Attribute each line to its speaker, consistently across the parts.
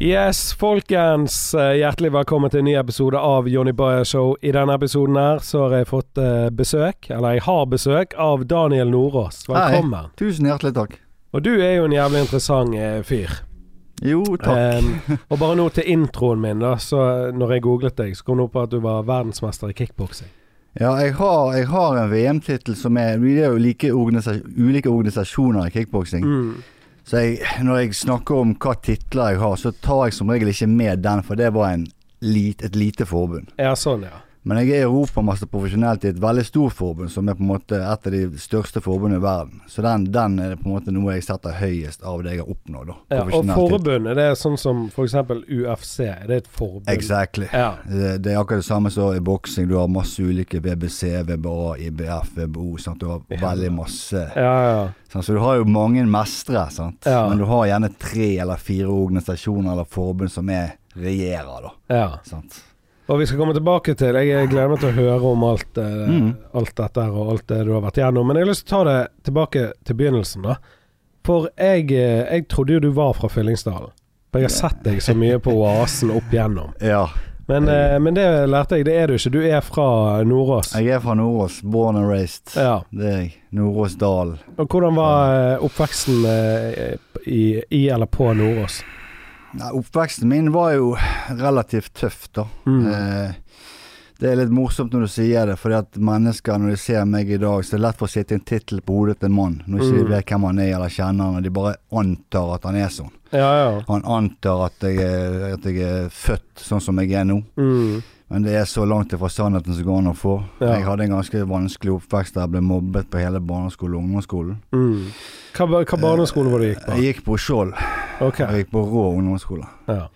Speaker 1: Yes, folkens. eh, Hjertelig velkommen til en ny episode av Jonny Bayer Show. I denne episoden her så har jeg fått eh, besøk, eller jeg har besøk, av Daniel Nordås. Velkommen.
Speaker 2: Tusen hjertelig takk.
Speaker 1: Og du er jo en jævlig interessant eh, fyr.
Speaker 2: Jo, takk.
Speaker 1: Em, og bare nå til introen min, da. Så eh, når jeg googlet deg, så kom det opp at du var verdensmester i kickboksing.
Speaker 2: Ja, jeg har, jeg har en VM-tittel som er Vi er jo like organisa- ulike organisasjoner i kickboksing.
Speaker 1: Mm.
Speaker 2: Så jeg, når jeg snakker om hva titler jeg har, så tar jeg som regel ikke med den, for det var en lit, et lite forbund.
Speaker 1: Ja, sånn, ja.
Speaker 2: Men jeg er europamester profesjonelt i et veldig stort forbund, som er på en måte et av de største forbundene i verden. Så den, den er på en måte noe jeg setter høyest av det jeg har oppnådd. da,
Speaker 1: ja og
Speaker 2: profesjonelt.
Speaker 1: forbundet, det er sånn som for eksempel UFC. Det er et forbund.
Speaker 2: Exactly.
Speaker 1: Ja.
Speaker 2: Det det er akkurat det samme som i boksing. Du har masse ulike WBC, WBA, IBF, WBO. Sant? Du har
Speaker 1: Ja.
Speaker 2: veldig masse
Speaker 1: Ja, ja.
Speaker 2: sant? Så du har jo mange mestre, sant?
Speaker 1: Ja.
Speaker 2: men du har gjerne tre eller fire organisasjoner eller forbund som er regjerer, da.
Speaker 1: ja.
Speaker 2: Sant?
Speaker 1: Og vi skal komme tilbake til Jeg gleder meg til å høre om alt, eh,
Speaker 2: Mm.
Speaker 1: alt dette her og alt det du har vært igjennom. Men jeg har lyst til å ta det tilbake til begynnelsen, da. For jeg, eh, jeg trodde jo du var fra Fyllingsdalen. For jeg har sett deg så mye på Oasen opp igjennom.
Speaker 2: Ja.
Speaker 1: Men, eh, men det lærte jeg, det er du ikke. Du er fra Nordås.
Speaker 2: Jeg er fra Nordås, born and raised.
Speaker 1: Ja.
Speaker 2: Det er jeg. Nordåsdalen.
Speaker 1: Og hvordan var eh, oppveksten eh, i, i eller på Nordås?
Speaker 2: Nei, oppveksten min var jo relativt tøff, da.
Speaker 1: Mm.
Speaker 2: Eh, det er litt morsomt når du sier det, fordi at mennesker når de ser meg i dag, så er det lett for å sitte en tittel på hodet til en mann når ikke de
Speaker 1: Mm.
Speaker 2: vet hvem han er eller kjenner han, og de bare antar at han er sånn.
Speaker 1: Ja, ja.
Speaker 2: Han antar at jeg, er, at jeg er født sånn som jeg er nå,
Speaker 1: Mm.
Speaker 2: men det er så langt ifra sannheten som går an å få.
Speaker 1: Ja.
Speaker 2: Jeg hadde en ganske vanskelig oppvekst der jeg ble mobbet på hele barneskolen og ungdomsskolen.
Speaker 1: Mm. Hva, ba- hva barneskole var det du gikk på?
Speaker 2: Jeg gikk på Skjold,
Speaker 1: Ok.
Speaker 2: jeg gikk på Rå ungdomsskole.
Speaker 1: Ja.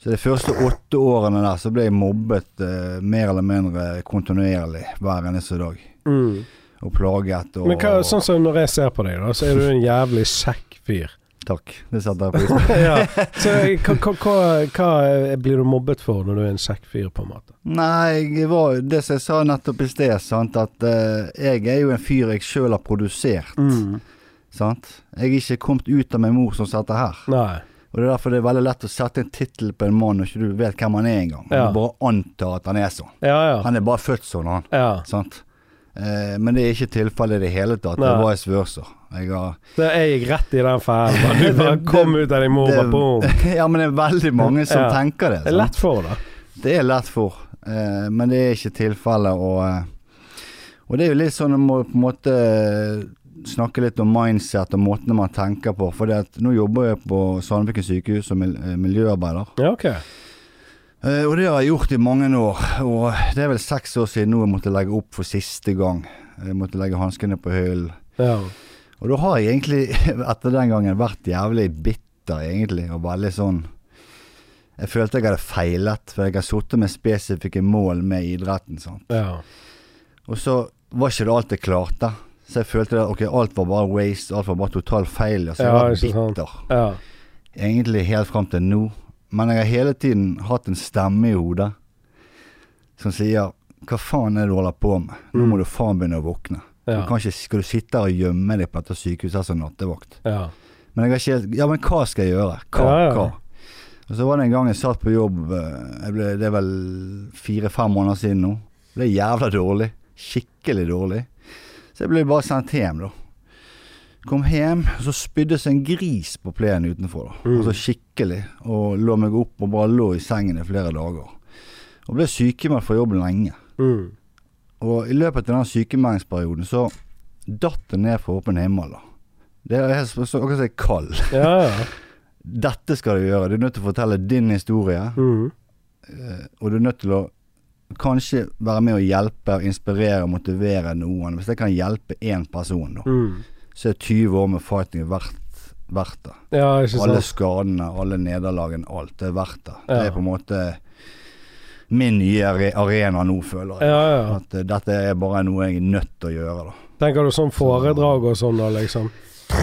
Speaker 2: Så de første åtte årene der så ble jeg mobbet eh, mer eller mindre kontinuerlig hver eneste dag.
Speaker 1: Mm.
Speaker 2: Og plaget og
Speaker 1: Men hva, sånn som når jeg ser på deg, da, så er du en jævlig kjekk fyr.
Speaker 2: Takk, det setter jeg pris på.
Speaker 1: ja. Så hva, hva, hva, hva blir du mobbet for når du er en kjekk fyr, på en måte?
Speaker 2: Nei, jeg var, det som jeg sa nettopp i sted, sant, at eh, jeg er jo en fyr jeg sjøl har produsert.
Speaker 1: Mm.
Speaker 2: Sant? Jeg er ikke kommet ut av min mor som sitter her.
Speaker 1: Nei.
Speaker 2: Og det er derfor det er veldig lett å sette en tittel på en mann når ikke du vet hvem han er engang. og
Speaker 1: Ja.
Speaker 2: Du bare antar at han er sånn.
Speaker 1: Ja, ja.
Speaker 2: Han er bare født sånn, han.
Speaker 1: ja.
Speaker 2: Sant? Eh, men det er ikke tilfellet i det hele tatt. Det
Speaker 1: Nei.
Speaker 2: var en svørser. Jeg har
Speaker 1: Så jeg gikk rett i den feilen. bare. Du bare
Speaker 2: Det-
Speaker 1: kom ut av din mor, bare boom.
Speaker 2: det, ja, men det er veldig mange som
Speaker 1: Ja.
Speaker 2: tenker det.
Speaker 1: Det er
Speaker 2: sant?
Speaker 1: lett for deg.
Speaker 2: Det er lett for, eh, men det er ikke tilfellet. Og, eh, og det er jo litt sånn å må- på en måte eh, snakke litt om mindset og måtene man tenker på. For det at nå jobber jeg på Sandviken sykehus som mil- eh, miljøarbeider.
Speaker 1: Ja, ok.
Speaker 2: Eh, Og det har jeg gjort i mange år. Og det er vel seks år siden nå jeg måtte legge opp for siste gang. Jeg måtte legge hanskene på hyllen.
Speaker 1: Ja.
Speaker 2: Og da har jeg egentlig etter den gangen vært jævlig bitter, egentlig, og veldig sånn Jeg følte jeg hadde feilet, for jeg har sittet med spesifikke mål med idretten. Sånn.
Speaker 1: ja.
Speaker 2: Og så var ikke det alt jeg klarte. Så jeg følte at ok, alt var bare waste, alt var bare total feil. Så jeg
Speaker 1: Ja,
Speaker 2: har vært
Speaker 1: ikke sant.
Speaker 2: bitter,
Speaker 1: ja.
Speaker 2: egentlig helt fram til nå. Men jeg har hele tiden hatt en stemme i hodet som sier hva faen er det du holder på med? Nå må du faen begynne å våkne.
Speaker 1: Ja.
Speaker 2: Du kan ikke, skal du sitte her og gjemme deg på dette sykehuset som nattevakt?
Speaker 1: ja.
Speaker 2: Men jeg har ikke helt Ja, men hva skal jeg gjøre? Hva?
Speaker 1: Ja, ja.
Speaker 2: hva? Og så var det en gang jeg satt på jobb eh, jeg ble, Det er vel fire-fem måneder siden nå. Det er jævla dårlig. Skikkelig dårlig. Så jeg ble bare sendt hjem, da. Kom hjem, og så spyddes en gris på plenen utenfor. da
Speaker 1: Mm.
Speaker 2: Altså skikkelig. Og lå meg opp og bare lå i sengen i flere dager. Og ble sykemeldt fra jobb lenge.
Speaker 1: Mm.
Speaker 2: Og i løpet av den sykemeldingsperioden så datt det ned fra åpen himmel, da. Det er helt- så- så- akkurat som jeg er kald.
Speaker 1: Ja, ja.
Speaker 2: Dette skal du gjøre. Du er nødt til å fortelle din historie.
Speaker 1: Mm.
Speaker 2: eh, Og du er nødt til å kanskje være med å hjelpe, inspirere og motivere noen. Hvis jeg kan hjelpe én person, da,
Speaker 1: Mm.
Speaker 2: så er 20 år med fighting verdt, verdt det.
Speaker 1: Ja, ikke
Speaker 2: Alle
Speaker 1: sant.
Speaker 2: skadene, alle nederlagene, alt. Det er verdt det.
Speaker 1: Ja.
Speaker 2: Det er på en måte min nye are- arena nå, føler jeg.
Speaker 1: Ja, ja.
Speaker 2: At eh, dette er bare noe jeg er nødt til å gjøre, da.
Speaker 1: Tenker du sånn foredrag og sånn da, liksom?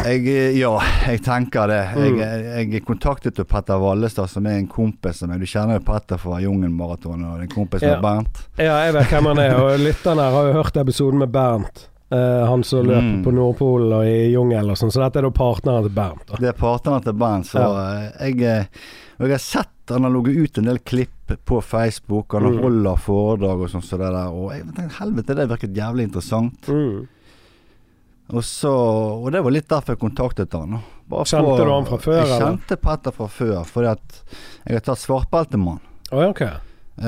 Speaker 2: Jeg, eh, ja, jeg tenker det.
Speaker 1: Mm.
Speaker 2: Jeg, eh, jeg kontaktet jo Petter Vallestad, som er en kompis av meg. Du kjenner jo Petter fra Jungenmaratonen og en kompis
Speaker 1: Ja.
Speaker 2: med Bernt.
Speaker 1: Ja, jeg vet hvem han er, og lytterne her har jo hørt episoden med Bernt. Eh, han som løp
Speaker 2: Mm.
Speaker 1: på Nordpolen og i jungel og sånn. Så dette er da partneren til Bernt. Da.
Speaker 2: Det er partene til band, så eh, jeg, eh, og jeg har sett han har ligget ut en del klipp på Facebook, han
Speaker 1: Mm.
Speaker 2: holder foredrag og sånn som det der, og jeg tenkte helvete, det virket jævlig interessant.
Speaker 1: Mm.
Speaker 2: Og så, og det var litt derfor jeg kontaktet han. da. Bare
Speaker 1: Kjente
Speaker 2: for-
Speaker 1: du han fra før,
Speaker 2: Jeg
Speaker 1: eller?
Speaker 2: kjente Petter fra før, fordi at jeg har tatt svartbelte med han.
Speaker 1: Å, ja, ok.
Speaker 2: Eh,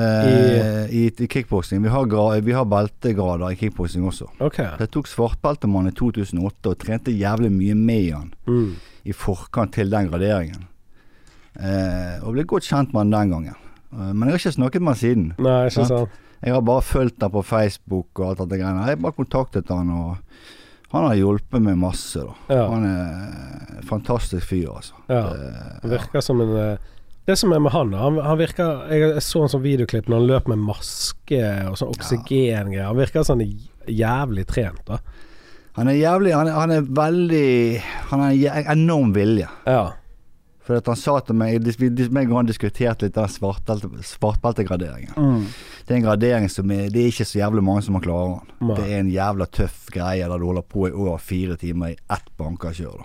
Speaker 2: I i kickboksing. Vi, har gra- vi har beltegrader i kickboksing også.
Speaker 1: Ok.
Speaker 2: Jeg tok svartbeltemann i 2008 og trente jævlig mye med han
Speaker 1: Mm.
Speaker 2: i forkant til den graderingen. Eh, og ble godt kjent med han den gangen. Eh, men jeg har ikke snakket med han siden.
Speaker 1: Nei, ikke
Speaker 2: Sant.
Speaker 1: sant.
Speaker 2: Jeg har bare fulgt han på Facebook og alt dette greiene. Jeg har bare kontaktet han, og han har hjulpet meg masse, da.
Speaker 1: Ja.
Speaker 2: Han er en fantastisk fyr, altså.
Speaker 1: ja.
Speaker 2: Eh,
Speaker 1: Han virker som en eh, Det som er med han, da, han, han virker Jeg jeg så en sånn videoklipp når han løp med maske og sånn oksygengreier. Han virker sånn jævlig trent, da.
Speaker 2: han er jævlig Han er, han er veldig Han har en jæ- enorm vilje.
Speaker 1: Ja.
Speaker 2: For at han sa til meg dis- Vi dis- meg og han diskuterte litt den svartbelte- svartbeltegraderingen.
Speaker 1: Mm.
Speaker 2: Det er en gradering som er, det er ikke så jævlig mange som har klaret den.
Speaker 1: Nei.
Speaker 2: Det er en jævla tøff greie der du holder på i over fire timer i ett bankerkjør. Da.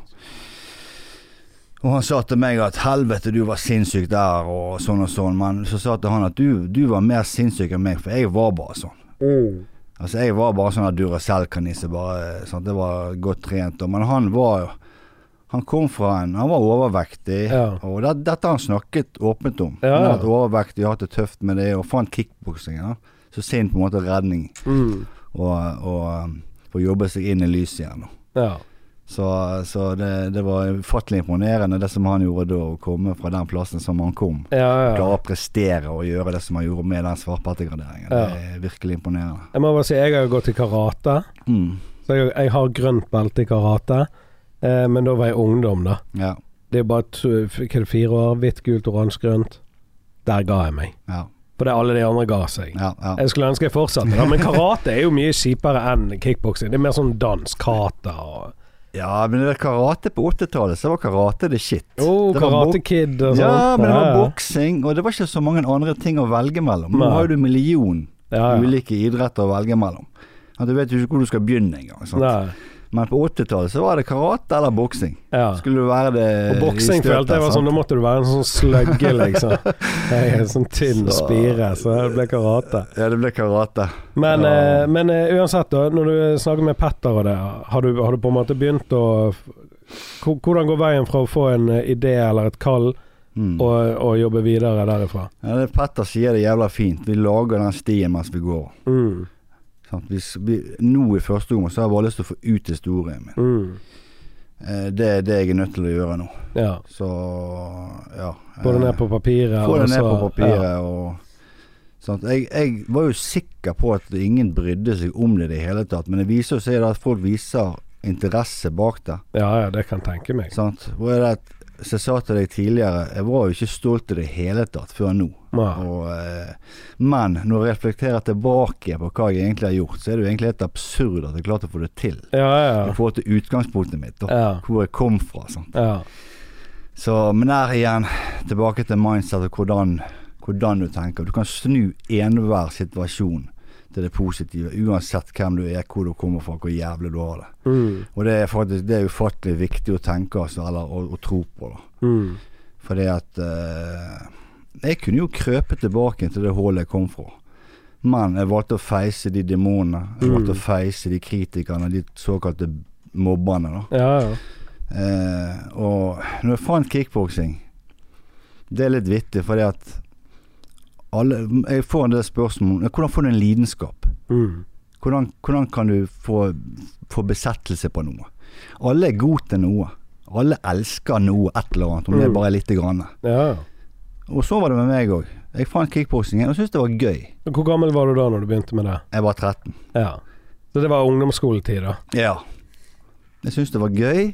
Speaker 2: Og han sa til meg at 'helvete, du var sinnssyk der', og sånn og sånn. Men så sa jeg til han at du, 'du var mer sinnssyk enn meg', for jeg var bare sånn.
Speaker 1: Mm.
Speaker 2: Altså Jeg var bare sånn Duracell-kanin som bare sånn, Det var godt trent. og- Men han var jo Han kom fra en Han var overvektig,
Speaker 1: Ja.
Speaker 2: og det, dette har han snakket åpent om.
Speaker 1: Ja,
Speaker 2: Han
Speaker 1: ja.
Speaker 2: har vært overvektig og hatt det tøft med det, og fant kickboksingen. da. Så sin på en måte redning,
Speaker 1: Mm.
Speaker 2: og, og um, få jobbe seg inn i lyset igjen. da.
Speaker 1: Ja.
Speaker 2: Så, så det, det var ufattelig imponerende, det som han gjorde da, å komme fra den plassen som han kom.
Speaker 1: Ja, ja, ja.
Speaker 2: Klare å prestere og gjøre det som han gjorde med den svartbeltegraderingen.
Speaker 1: Ja.
Speaker 2: Det er virkelig imponerende.
Speaker 1: Jeg må bare si, jeg har jo gått i karate.
Speaker 2: Mm.
Speaker 1: Så jeg, jeg har grønt belte i karate, eh, men da var jeg ungdom, da.
Speaker 2: Ja.
Speaker 1: Det er bare to, f- hva er det, fire år. Hvitt, gult, oransje, grønt. Der ga jeg meg.
Speaker 2: Ja.
Speaker 1: For det alle de andre ga seg.
Speaker 2: Ja, ja.
Speaker 1: Jeg skulle ønske jeg fortsatte, da, men karate er jo mye kjipere enn kickboksing. Det er mer sånn dans, kata og
Speaker 2: Ja, men det var karate på 80-tallet, så var karate det shit.
Speaker 1: oh,
Speaker 2: det var
Speaker 1: Karate
Speaker 2: bok-
Speaker 1: Kid og sånt.
Speaker 2: Ja, men det var
Speaker 1: Ja, ja.
Speaker 2: boksing, og det var ikke så mange andre ting å velge mellom. Nå
Speaker 1: Nei.
Speaker 2: har jo du en million
Speaker 1: Ja, ja.
Speaker 2: ulike idretter å velge mellom. At du vet jo ikke hvor du skal begynne engang. sant?
Speaker 1: Nei,
Speaker 2: Men på 80-tallet så var det karate eller boksing.
Speaker 1: ja.
Speaker 2: Skulle du være det
Speaker 1: Og
Speaker 2: i
Speaker 1: boksing
Speaker 2: støtet,
Speaker 1: følte jeg var sånn,
Speaker 2: sant?
Speaker 1: da måtte du være en sånn sløgge, liksom. Jeg er en sånn tynn spire, så det ble karate.
Speaker 2: Ja, det ble karate.
Speaker 1: Men,
Speaker 2: Ja.
Speaker 1: eh, men eh, uansett, da, når du snakker med Petter og det, har du, har du på en måte begynt å f- Hvor- Hvordan går veien fra å få en eh, idé eller et kall
Speaker 2: Mm.
Speaker 1: og, og jobbe videre derifra?
Speaker 2: Ja, det Petter sier det jævla fint. Vi lager den stien mens vi går.
Speaker 1: Mm,
Speaker 2: Sant? Vi, vi, nå i første omgang så har jeg bare lyst til å få ut historien min.
Speaker 1: mm,
Speaker 2: Eh, Det er det jeg er nødt til å gjøre nå.
Speaker 1: ja.
Speaker 2: Så ja.
Speaker 1: Få det ned på papiret.
Speaker 2: Få
Speaker 1: og
Speaker 2: det ned
Speaker 1: så-
Speaker 2: på papiret.
Speaker 1: Ja.
Speaker 2: Og, sant? Jeg, jeg var jo sikker på at ingen brydde seg om det i det hele tatt, men det viser jo seg da at folk viser interesse bak det.
Speaker 1: ja, ja, det kan jeg tenke meg.
Speaker 2: Sant? Hvor er det at, som jeg sa til deg tidligere, jeg var jo ikke stolt i det hele tatt før nå.
Speaker 1: Ja.
Speaker 2: Og, eh, men når jeg reflekterer tilbake på hva jeg egentlig har gjort, så er det jo egentlig helt absurd at jeg klarte å få det til.
Speaker 1: Ja, ja,
Speaker 2: I
Speaker 1: ja.
Speaker 2: forhold til utgangspunktet mitt, da,
Speaker 1: ja.
Speaker 2: hvor jeg kom fra. sånn. Sant?
Speaker 1: ja.
Speaker 2: Så, men der igjen, tilbake til mindset og hvordan, hvordan du tenker. Du kan snu enhver situasjon til det positive, uansett hvem du er, hvor du kommer fra, hvor jævlig du har det.
Speaker 1: Mm,
Speaker 2: Og det er faktisk det er ufattelig viktig å tenke altså, eller å, å tro på. da.
Speaker 1: mm,
Speaker 2: Fordi at eh, Jeg kunne jo krøpe tilbake til det hullet jeg kom fra. Men jeg valgte å feise de demonene. Jeg valgte
Speaker 1: Mm.
Speaker 2: å feise de kritikerne, de såkalte mobberne. da.
Speaker 1: ja, ja.
Speaker 2: Eh, og når jeg fant kickboksing Det er litt vittig, fordi at alle, Jeg får en del spørsmål om hvordan får du en lidenskap?
Speaker 1: Mm,
Speaker 2: Hvordan, hvordan kan du få, få besettelse på noe? Alle er gode til noe. Alle elsker noe, et eller annet, om det
Speaker 1: Mm.
Speaker 2: er bare lite grann.
Speaker 1: ja. ja.
Speaker 2: Og så var det med meg òg. Jeg fant kickboksingen og syntes det var gøy.
Speaker 1: Hvor gammel var du da når du begynte med det?
Speaker 2: Jeg var 13.
Speaker 1: Ja. Så det var ungdomsskoletid, da?
Speaker 2: Ja. Jeg syntes det var gøy.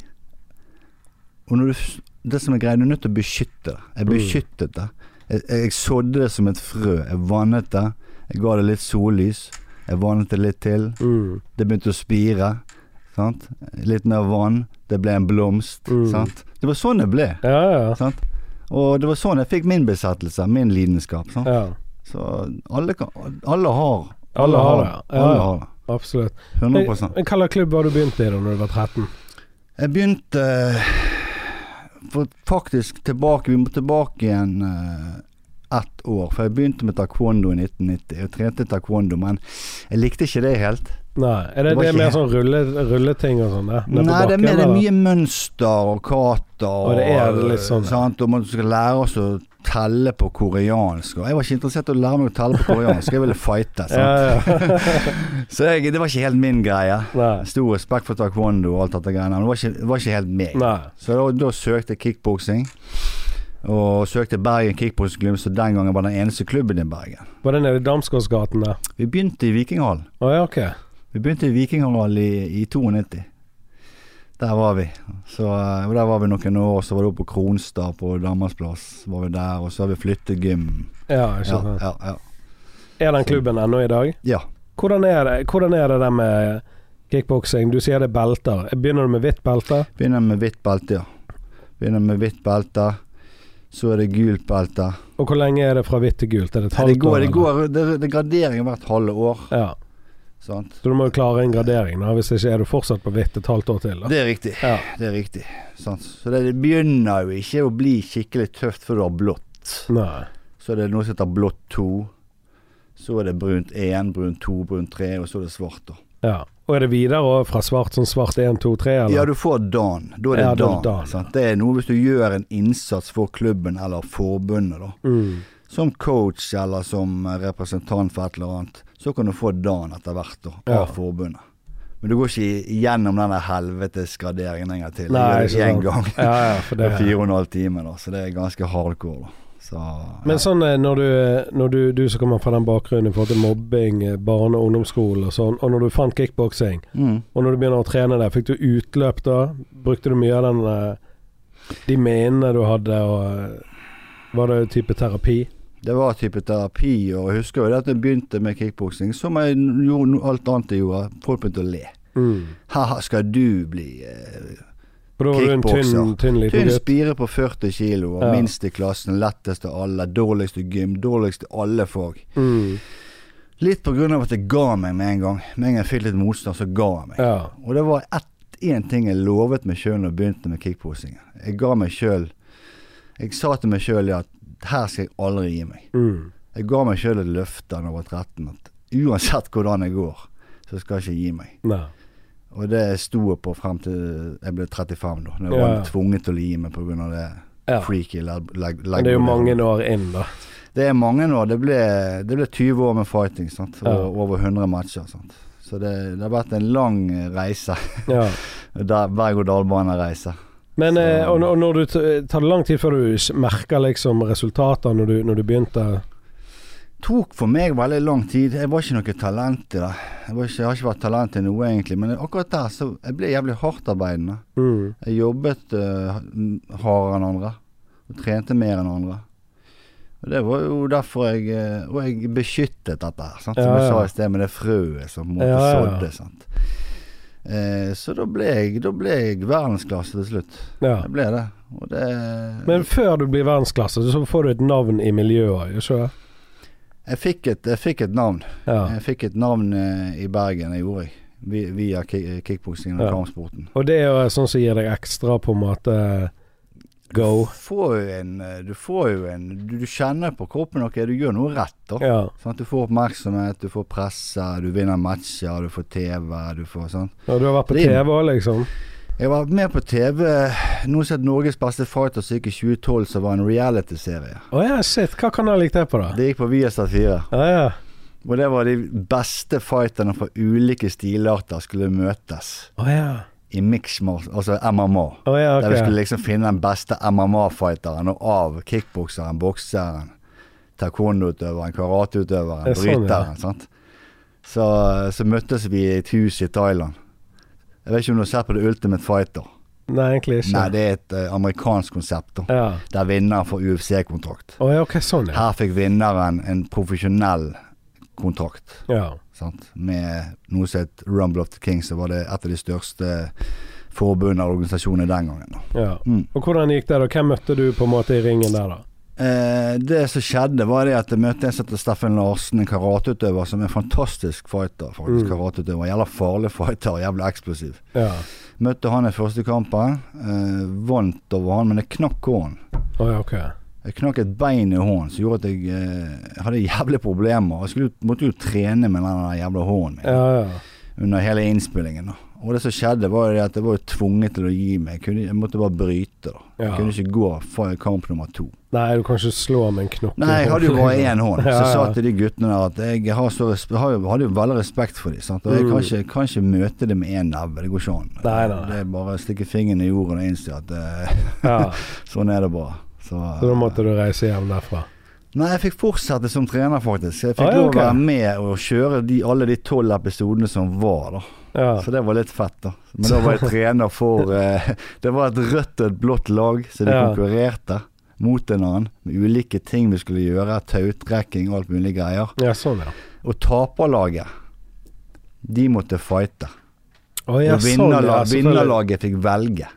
Speaker 2: Og når du, s- det som er greia, du er nødt til å beskytte det. Jeg
Speaker 1: Mm.
Speaker 2: beskyttet det. Jeg, jeg sådde det som et frø. Jeg vannet det. Jeg ga det litt sollys. Jeg vannet det litt til.
Speaker 1: Mm,
Speaker 2: Det begynte å spire. Sant? Litt mer vann. Det ble en blomst.
Speaker 1: Mm.
Speaker 2: Sant? Det var sånn det ble.
Speaker 1: ja, ja.
Speaker 2: Sant? Og det var sånn jeg fikk min besettelse, min lidenskap. Sant?
Speaker 1: ja.
Speaker 2: Så alle, kan, alle har
Speaker 1: Alle har det, ja.
Speaker 2: Alle har det.
Speaker 1: absolutt.
Speaker 2: 100
Speaker 1: Men Hvilken klubb var du begynt i da når du var 13?
Speaker 2: Jeg begynte eh, for faktisk tilbake Vi må tilbake igjen eh, ett år. For jeg begynte med taekwondo i 1990. Jeg trente taekwondo, men jeg likte ikke det helt.
Speaker 1: Nei, Er det,
Speaker 2: Det var
Speaker 1: det,
Speaker 2: ikke
Speaker 1: mer
Speaker 2: helt-
Speaker 1: sånn rulle, rulleting og sånn?
Speaker 2: Nei, det er, mer, det er mye mønster og kata og,
Speaker 1: Og det er litt sånn, ja.
Speaker 2: sant? og man skal lære oss å telle på koreansk. Og jeg var ikke interessert i å lære meg å telle på koreansk, jeg ville fighte.
Speaker 1: Ja,
Speaker 2: Sant?
Speaker 1: ja.
Speaker 2: Så jeg, det var ikke helt min greie.
Speaker 1: Nei.
Speaker 2: Stor respekt for taekwondo og alt dette greiene, men det var ikke, det var ikke helt meg.
Speaker 1: Nei.
Speaker 2: Så da, da søkte jeg kickboksing. Og søkte Bergen kickboksingklubb, så den gangen var den eneste klubben i Bergen.
Speaker 1: Var det nede i Damsgårdsgaten der?
Speaker 2: Vi begynte i Vikinghallen.
Speaker 1: Å ja, ok.
Speaker 2: Vi begynte i Vikinghallen i, i 92. Der var vi. Så, eh, og der var vi noen år, så var det oppe på Kronstad på Danmarksplass. Var vi der, og så har vi flyttet gym.
Speaker 1: Ja, ikke
Speaker 2: Ja,
Speaker 1: sant.
Speaker 2: ja, ja.
Speaker 1: Er den klubben ennå i dag?
Speaker 2: ja.
Speaker 1: Hvordan er det, hvordan er det der med kickboksing? Du sier det er belter. Begynner du med hvitt belte?
Speaker 2: Begynner med hvitt belte, ja. Begynner med hvitt belte. Så er det gult belte.
Speaker 1: Og hvor lenge er det fra hvitt til gult? Er det et halvt
Speaker 2: Det går, det
Speaker 1: eller?
Speaker 2: går det, det er gradering hvert halve år.
Speaker 1: Ja.
Speaker 2: Sant?
Speaker 1: Så du må jo klare en gradering, da. hvis ikke er du fortsatt på hvitt et halvt år til. Da.
Speaker 2: Det er riktig.
Speaker 1: Ja.
Speaker 2: Det er riktig. Sant? Så det, det begynner jo ikke å bli skikkelig tøft før du har blått.
Speaker 1: Nei.
Speaker 2: Så er det noe som heter blått 2. Så er det brunt 1, brunt 2, brunt 3, og så er det svart. da.
Speaker 1: Ja. Og er det videre også fra svart sånn svart 1, 2, 3, eller?
Speaker 2: Ja, du får dan. Da er det
Speaker 1: Ja, da er
Speaker 2: dan.
Speaker 1: det dan.
Speaker 2: sant? Det er noe hvis du gjør en innsats for klubben eller forbundet, da.
Speaker 1: Mm.
Speaker 2: Som coach eller som eh, representant for et eller annet, så kan du få dan etter hvert da, av
Speaker 1: Ja.
Speaker 2: forbundet. Men du går ikke gjennom den der helvetesgraderingen en gang til.
Speaker 1: Nei,
Speaker 2: Nei,
Speaker 1: ikke
Speaker 2: ikke én
Speaker 1: sant.
Speaker 2: gang.
Speaker 1: Ja, ja, for
Speaker 2: Det er
Speaker 1: det
Speaker 2: fire og en halv time, da, så det er ganske hardcore. da. Så,
Speaker 1: Men sånn eh, når du, når du, du som kommer fra den bakgrunnen i forhold til mobbing, eh, barne- og ungdomsskole og sånn, og når du fant kickboksing,
Speaker 2: mm.
Speaker 1: og når du begynner å trene der, fikk du utløp da? Brukte du mye av den eh, de minnene du hadde, og eh, var det type terapi?
Speaker 2: Det var type terapi, og jeg husker jo det at jeg begynte med kickboksing, som jeg gjorde no- alt annet jeg gjorde. Folk begynte å le. Mm. Haha, skal du bli eh,
Speaker 1: For da var du en tynn,
Speaker 2: Kickbokser.
Speaker 1: tynn liten
Speaker 2: Tynn
Speaker 1: gutt.
Speaker 2: spire på 40 kilo, og
Speaker 1: Ja.
Speaker 2: minst i klassen, lettest av alle, dårligst i gym, dårligst i alle fag.
Speaker 1: Mm.
Speaker 2: Litt på grunn av at jeg ga meg med en gang. Med en gang jeg fikk litt motstand, så ga jeg meg.
Speaker 1: Ja.
Speaker 2: Og det var én ting jeg lovet meg sjøl når jeg begynte med kickposingen. Jeg ga meg sjøl Jeg sa til meg sjøl at her skal jeg aldri gi meg.
Speaker 1: Mm.
Speaker 2: Jeg ga meg sjøl et løfte da jeg var 13 at uansett hvordan jeg går, så skal jeg ikke gi meg.
Speaker 1: Nei.
Speaker 2: Og det sto jeg på frem til jeg ble 35, da. Når jeg
Speaker 1: Ja.
Speaker 2: var tvunget til å gi meg pga. det
Speaker 1: Ja.
Speaker 2: freaky leg... leg,
Speaker 1: Men
Speaker 2: leg
Speaker 1: det er jo mange år inn, da.
Speaker 2: Det er mange nå. Det ble, det ble 20 år med fighting sant? og
Speaker 1: Ja.
Speaker 2: over 100 matcher. Sant? Så det, det har vært en lang reise.
Speaker 1: Ja.
Speaker 2: Der- Berg-og-dal-bane-reise.
Speaker 1: Men
Speaker 2: Så-
Speaker 1: eh, og, og når du t- tar det lang tid før du s- merker liksom resultater når du, når du begynte
Speaker 2: tok for meg veldig lang tid. Jeg var ikke noe talent i det. Jeg, var ikke, jeg har ikke vært talent i noe, egentlig. Men akkurat der så jeg ble jævlig hardtarbeidende.
Speaker 1: mm.
Speaker 2: Jeg jobbet eh, hardere enn andre. Og trente mer enn andre. Og det var jo derfor jeg eh, Og jeg beskyttet dette her, sant? som
Speaker 1: Ja,
Speaker 2: jeg
Speaker 1: ja.
Speaker 2: sa i sted, med det frøet som på en måte
Speaker 1: Ja, ja, ja.
Speaker 2: sådde. Sant? Eh, så da ble, jeg, da ble jeg verdensklasse til slutt.
Speaker 1: Ja.
Speaker 2: Jeg ble det. Og det
Speaker 1: Men før du blir verdensklasse, så får du et navn i miljøet, gjør ikke det?
Speaker 2: jeg, fikk et, jeg fikk et navn.
Speaker 1: Ja.
Speaker 2: Jeg fikk et navn eh, i Bergen, det gjorde jeg. Vi- Via ki- kickboksingen og
Speaker 1: Ja.
Speaker 2: kampsporten.
Speaker 1: Og det er jo sånn som gir deg ekstra på en måte eh, go.
Speaker 2: Får jo en, eh, du får jo en Du, du kjenner på kroppen ok, du gjør noe rett, da.
Speaker 1: Ja.
Speaker 2: Sånn at du får oppmerksomhet, du får presse, du vinner matcher, du får TV, du får sånn.
Speaker 1: Og du har vært på
Speaker 2: Rim.
Speaker 1: TV òg, liksom.
Speaker 2: Jeg var med på TV noe som het Norges beste fighter som gikk i 2012, som var en realityserie.
Speaker 1: Å ja, shit. Hva kanal gikk det på, da?
Speaker 2: Det gikk på Viasat 4.
Speaker 1: Ja, ja.
Speaker 2: Og det var de beste fighterne fra ulike stilarter skulle møtes
Speaker 1: Å ja.
Speaker 2: i mixed martial, altså MMA.
Speaker 1: Å ja,
Speaker 2: Der vi skulle
Speaker 1: ok.
Speaker 2: liksom finne den beste MMA-fighteren, og av kickbokseren, bokseren, taekwondo-utøveren,
Speaker 1: Det
Speaker 2: karateutøveren,
Speaker 1: er sånn,
Speaker 2: bryteren. sant? Så, så møttes vi i et hus i Thailand. Jeg vet ikke om du har sett på The Ultimate Fighter.
Speaker 1: Nei, egentlig ikke.
Speaker 2: Nei, det er et eh, amerikansk konsept, da.
Speaker 1: Ja.
Speaker 2: Der vinneren får UFC-kontrakt.
Speaker 1: Å ja, ok, sånn, ja.
Speaker 2: Her fikk vinneren en profesjonell kontrakt.
Speaker 1: ja.
Speaker 2: Sant? Med noe som het Rumble of the King, som var det et av de største forbundene og organisasjonene den gangen. da.
Speaker 1: ja.
Speaker 2: Mm.
Speaker 1: Og hvordan gikk det, da? Hvem møtte du på en måte i ringen der, da?
Speaker 2: Eh, det som skjedde, var det at jeg møtte en som heter Steffen Larsen, en karateutøver som er en fantastisk fighter.
Speaker 1: Mm.
Speaker 2: faktisk karateutøver Jævla farlig fighter, jævla eksplosiv.
Speaker 1: Ja.
Speaker 2: Møtte han i første kampen. Eh, vant over han, men jeg knakk hånden.
Speaker 1: Å ja, ok.
Speaker 2: Jeg knakk et bein i hånden som gjorde at jeg eh, hadde jævlige problemer. Jeg skulle, jo- måtte jo trene med den der jævla hånden min
Speaker 1: Ja, ja.
Speaker 2: under hele innspillingen. da Og det som skjedde, var jo det at jeg var jo tvunget til å gi meg. Jeg, kunne, jeg måtte bare bryte. da Jeg
Speaker 1: Ja.
Speaker 2: kunne ikke gå for kamp nummer to.
Speaker 1: Nei, du kan ikke slå med en knokkel.
Speaker 2: Nei, jeg hadde jo bare én hånd. Så
Speaker 1: Ja,
Speaker 2: jeg sa
Speaker 1: ja.
Speaker 2: til de guttene der at jeg har så resp- har jo, hadde jo veldig respekt for dem. Sant? Og jeg kan ikke, kan ikke møte det med én neve. Det går ikke an.
Speaker 1: Mm. Nei, nei, nei.
Speaker 2: Det er bare å stikke fingeren i jorden og innse at eh,
Speaker 1: Ja,
Speaker 2: sånn er det bare. Så,
Speaker 1: så da måtte du reise hjem derfra.
Speaker 2: Nei, jeg fikk fortsette som trener, faktisk. Jeg
Speaker 1: Ah,
Speaker 2: fikk
Speaker 1: ja,
Speaker 2: lov å
Speaker 1: ok.
Speaker 2: være med og kjøre de, alle de tolv episodene som var, da.
Speaker 1: Ja.
Speaker 2: Så det var litt fett, da. Men da var jeg trener for eh, Det var et rødt og et blått lag, så de
Speaker 1: Ja.
Speaker 2: konkurrerte mot en annen med ulike ting vi skulle gjøre. Tautrekking og alt mulig greier.
Speaker 1: ja, sånn, ja.
Speaker 2: Og taperlaget, de måtte fighte.
Speaker 1: Å, ja,
Speaker 2: og
Speaker 1: sånn, ja,
Speaker 2: vinnerla-
Speaker 1: selvfølgelig.
Speaker 2: vinnerlaget fikk velge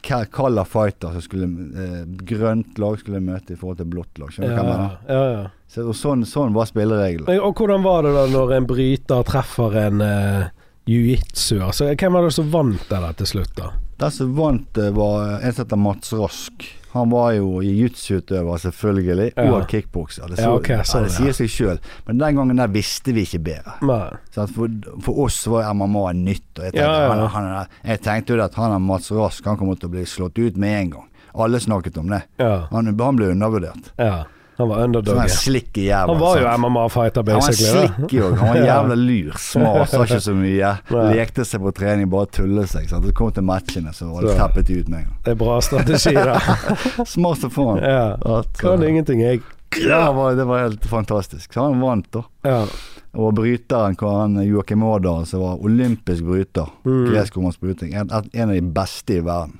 Speaker 2: hva hvilken fighter som skulle eh, grønt lag skulle møte i forhold til blått lag. Skjønner du hva jeg mener?
Speaker 1: Ja, ja, ja.
Speaker 2: Så, og sånn, sånn var spillereglene.
Speaker 1: Men- Og hvordan var det da når en bryter treffer en uh, jiu-jitsuer? Så Hvem var det som vant det der til slutt, da?
Speaker 2: Den som vant, eh, var en som heter Mats Rask. Han var jo jiu-jitsu-utøver, selvfølgelig,
Speaker 1: Ja.
Speaker 2: og kickbokser. Det,
Speaker 1: Ja, ok, sånn,
Speaker 2: ja, det
Speaker 1: ja.
Speaker 2: sier seg sjøl. Men den gangen der visste vi ikke bedre.
Speaker 1: Nei.
Speaker 2: Så at for, for oss var MMA nytt. Og jeg, tenkte,
Speaker 1: Ja, ja, ja.
Speaker 2: Han, han, jeg tenkte jo at han og Mats Rask han kommer til å bli slått ut med en gang. Alle snakket om det.
Speaker 1: Ja.
Speaker 2: Han, han ble undervurdert.
Speaker 1: ja. Han var
Speaker 2: Så
Speaker 1: underdog.
Speaker 2: han
Speaker 1: ja.
Speaker 2: slik i jævla.
Speaker 1: Han var jo MMA-fighter,
Speaker 2: Han var
Speaker 1: basically. da.
Speaker 2: slikk jo. Han var jævla lur, smart, sa ikke så mye.
Speaker 1: Nei.
Speaker 2: Lekte seg på trening, bare tullet seg. Sant? Så kom til matchene, så var det
Speaker 1: Så.
Speaker 2: teppet ut med en gang.
Speaker 1: Det er bra strategi, da.
Speaker 2: Smart som faen.
Speaker 1: Ja.
Speaker 2: At,
Speaker 1: Kan
Speaker 2: uh,
Speaker 1: ingenting, jeg.
Speaker 2: ja, det var- det var helt fantastisk. Så han vant, da.
Speaker 1: Ja. og
Speaker 2: Og bryteren hva han Joakim Aardal, som var olympisk bryter.
Speaker 1: Mm.
Speaker 2: Gresskommersbryting. En, en av de beste i verden.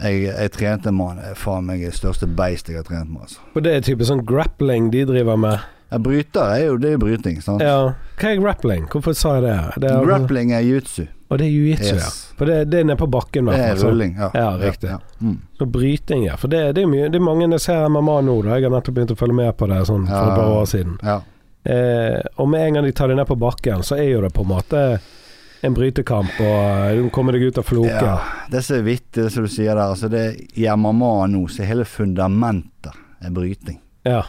Speaker 2: Jeg, jeg trente med han. Faen meg det største beist jeg har trent med. Altså.
Speaker 1: det er typisk sånn grappling de driver med.
Speaker 2: Ja, bryter er jo det er jo bryting. sant?
Speaker 1: Ja. Hva er grappling? Hvorfor sa jeg det? det er,
Speaker 2: Grappling er jiu-jitsu.
Speaker 1: Og det er jiu-jitsu,
Speaker 2: Yes.
Speaker 1: ja. For det, det er nede på bakken, i
Speaker 2: Det
Speaker 1: hvert
Speaker 2: er
Speaker 1: fall. sånn.
Speaker 2: rulling. Ja,
Speaker 1: Ja, riktig.
Speaker 2: Mm.
Speaker 1: Så bryting, ja. For det, det, er mye, det er mange jeg ser MMA nå, da. Jeg har nettopp begynt å følge med på det sånn, for
Speaker 2: Ja.
Speaker 1: et par år siden.
Speaker 2: ja.
Speaker 1: Eh, og med en gang de tar deg ned på bakken, så er jo det på en måte en brytekamp, og eh, du kommer deg ut av floken.
Speaker 2: ja. Det som er vittig, det som du sier der, altså det er i MMA nå, så hele fundamentet er bryting.
Speaker 1: Ja.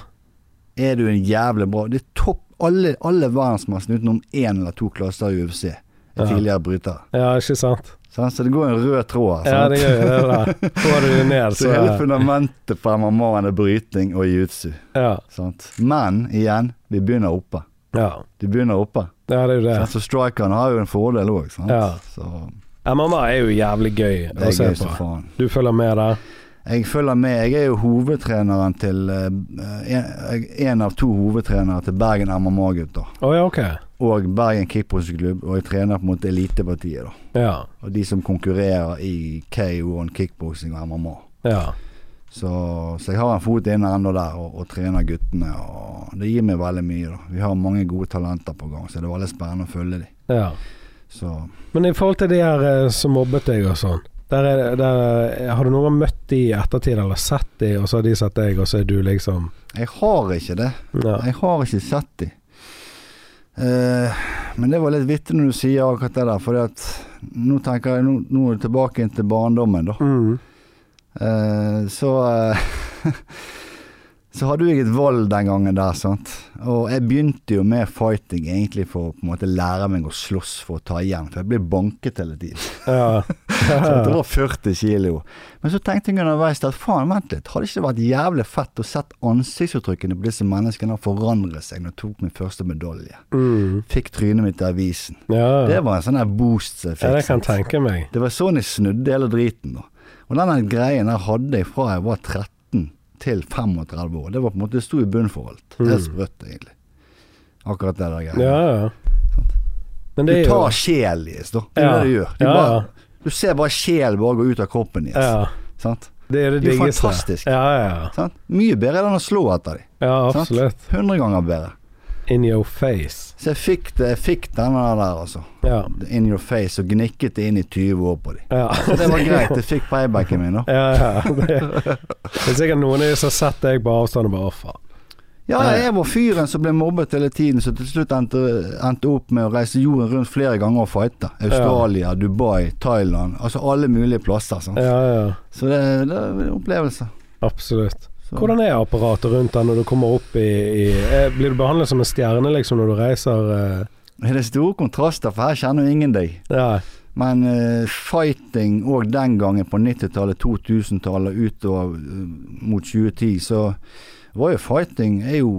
Speaker 2: er du en jævlig bra Det er topp alle, alle verdensmesterne utenom én eller to klasser i UFC er
Speaker 1: Ja.
Speaker 2: tidligere brytere.
Speaker 1: ja. ikke sant?
Speaker 2: Sant? Så det går en rød tråd her.
Speaker 1: Ja,
Speaker 2: sant?
Speaker 1: det gjør jo det der. Får du det ned,
Speaker 2: så
Speaker 1: så
Speaker 2: hele fundamentet for MMA-en er bryting og jiu-jitsu.
Speaker 1: ja.
Speaker 2: Sant? Men igjen, vi begynner oppe.
Speaker 1: ja.
Speaker 2: Du begynner oppe.
Speaker 1: Ja, det er jo det.
Speaker 2: Sant? Så strikeren har jo en fordel òg.
Speaker 1: Ja.
Speaker 2: Så
Speaker 1: MMA er jo jævlig gøy
Speaker 2: det
Speaker 1: å
Speaker 2: er
Speaker 1: se
Speaker 2: gøy som
Speaker 1: på.
Speaker 2: faen.
Speaker 1: Du følger med der?
Speaker 2: Jeg følger med. Jeg er jo hovedtreneren til eh, en, en av to hovedtrenere til Bergen MMA-gutter.
Speaker 1: Å ja, ok.
Speaker 2: og Bergen Kickboxklubb, og jeg trener på en måte elitepartiet, da.
Speaker 1: Ja.
Speaker 2: Og de som konkurrerer i KO, og kickboksing og MMA.
Speaker 1: Ja.
Speaker 2: Så, så jeg har en fot inne ennå der og, og trener guttene. Og det gir meg veldig mye. da Vi har mange gode talenter på gang, så det er veldig spennende å følge dem.
Speaker 1: ja.
Speaker 2: Så
Speaker 1: Men i forhold til de her eh, som mobbet deg og sånn, der er, der, er- har du noen gang møtt de i ettertid, eller sett de, og så har de sett deg, og så er du liksom
Speaker 2: jeg har ikke det.
Speaker 1: ja.
Speaker 2: Jeg har ikke sett dem. Eh, men det var litt vittig når du sier akkurat det der, for at nå tenker jeg, nå, nå er det tilbake inn til barndommen, da.
Speaker 1: Mm.
Speaker 2: Eh, så eh, Så hadde jo jeg et valg den gangen der, sant. Og jeg begynte jo med fighting egentlig for å på en måte lære meg å slåss for å ta igjen, for jeg ble banket hele tiden.
Speaker 1: Ja.
Speaker 2: Så jeg drar 40 kilo. Men så tenkte jeg underveis at faen, vent litt, hadde det ikke vært jævlig fett å sett ansiktsuttrykkene på disse menneskene forandre seg når jeg tok min første medalje?
Speaker 1: Mm.
Speaker 2: Fikk trynet mitt i avisen.
Speaker 1: Ja.
Speaker 2: Det var en sånn her boost som jeg fikk.
Speaker 1: ja, det kan
Speaker 2: sant?
Speaker 1: jeg tenke meg.
Speaker 2: Det var sånn jeg snudde hele driten. da. Og denne greien jeg hadde fra jeg var 13 til 35 år, det var på en måte, det sto i bunnen for alt. Helt sprøtt, egentlig. Akkurat det der
Speaker 1: Mm. Ja,
Speaker 2: greia.
Speaker 1: ja. Men
Speaker 2: Du
Speaker 1: det er jo
Speaker 2: tar sjelen deres, da. Det er
Speaker 1: Ja.
Speaker 2: det du gjør. Du,
Speaker 1: Ja, ja.
Speaker 2: bare, du ser bare sjelen bare gå ut av kroppen deres.
Speaker 1: ja.
Speaker 2: Sant?
Speaker 1: Det er det
Speaker 2: Det er jo
Speaker 1: diggeste.
Speaker 2: fantastisk.
Speaker 1: Ja, ja.
Speaker 2: Sant? Mye bedre enn å slå etter dem.
Speaker 1: ja absolutt.
Speaker 2: 100 ganger bedre.
Speaker 1: in your face.
Speaker 2: Så jeg fikk, det, jeg fikk denne der, altså.
Speaker 1: Ja.
Speaker 2: In your face, og gnikket det inn i 20 år på dem.
Speaker 1: ja.
Speaker 2: Så det var greit. Jeg fikk paybacken min, da.
Speaker 1: Ja, ja. Det, det er sikkert noen av de som har sett deg på avstand og bare «Å, faen».
Speaker 2: Ja, jeg var fyren som ble mobbet hele tiden, så til slutt endte, endte opp med å reise jorden rundt flere ganger og fighte. Australia, Dubai, Thailand. Altså alle mulige plasser. Sant?
Speaker 1: Ja, ja.
Speaker 2: Så det, det er en opplevelse.
Speaker 1: Absolutt.
Speaker 2: Så.
Speaker 1: Hvordan er apparatet rundt deg når du kommer opp i, i eh, Blir du behandlet som en stjerne liksom når du reiser? eh?
Speaker 2: Det er store kontraster, for her kjenner jo ingen deg.
Speaker 1: Ja,
Speaker 2: Men eh, fighting og den gangen på 90-tallet, 2000-tallet utover eh, mot 2010, så var jo fighting er jo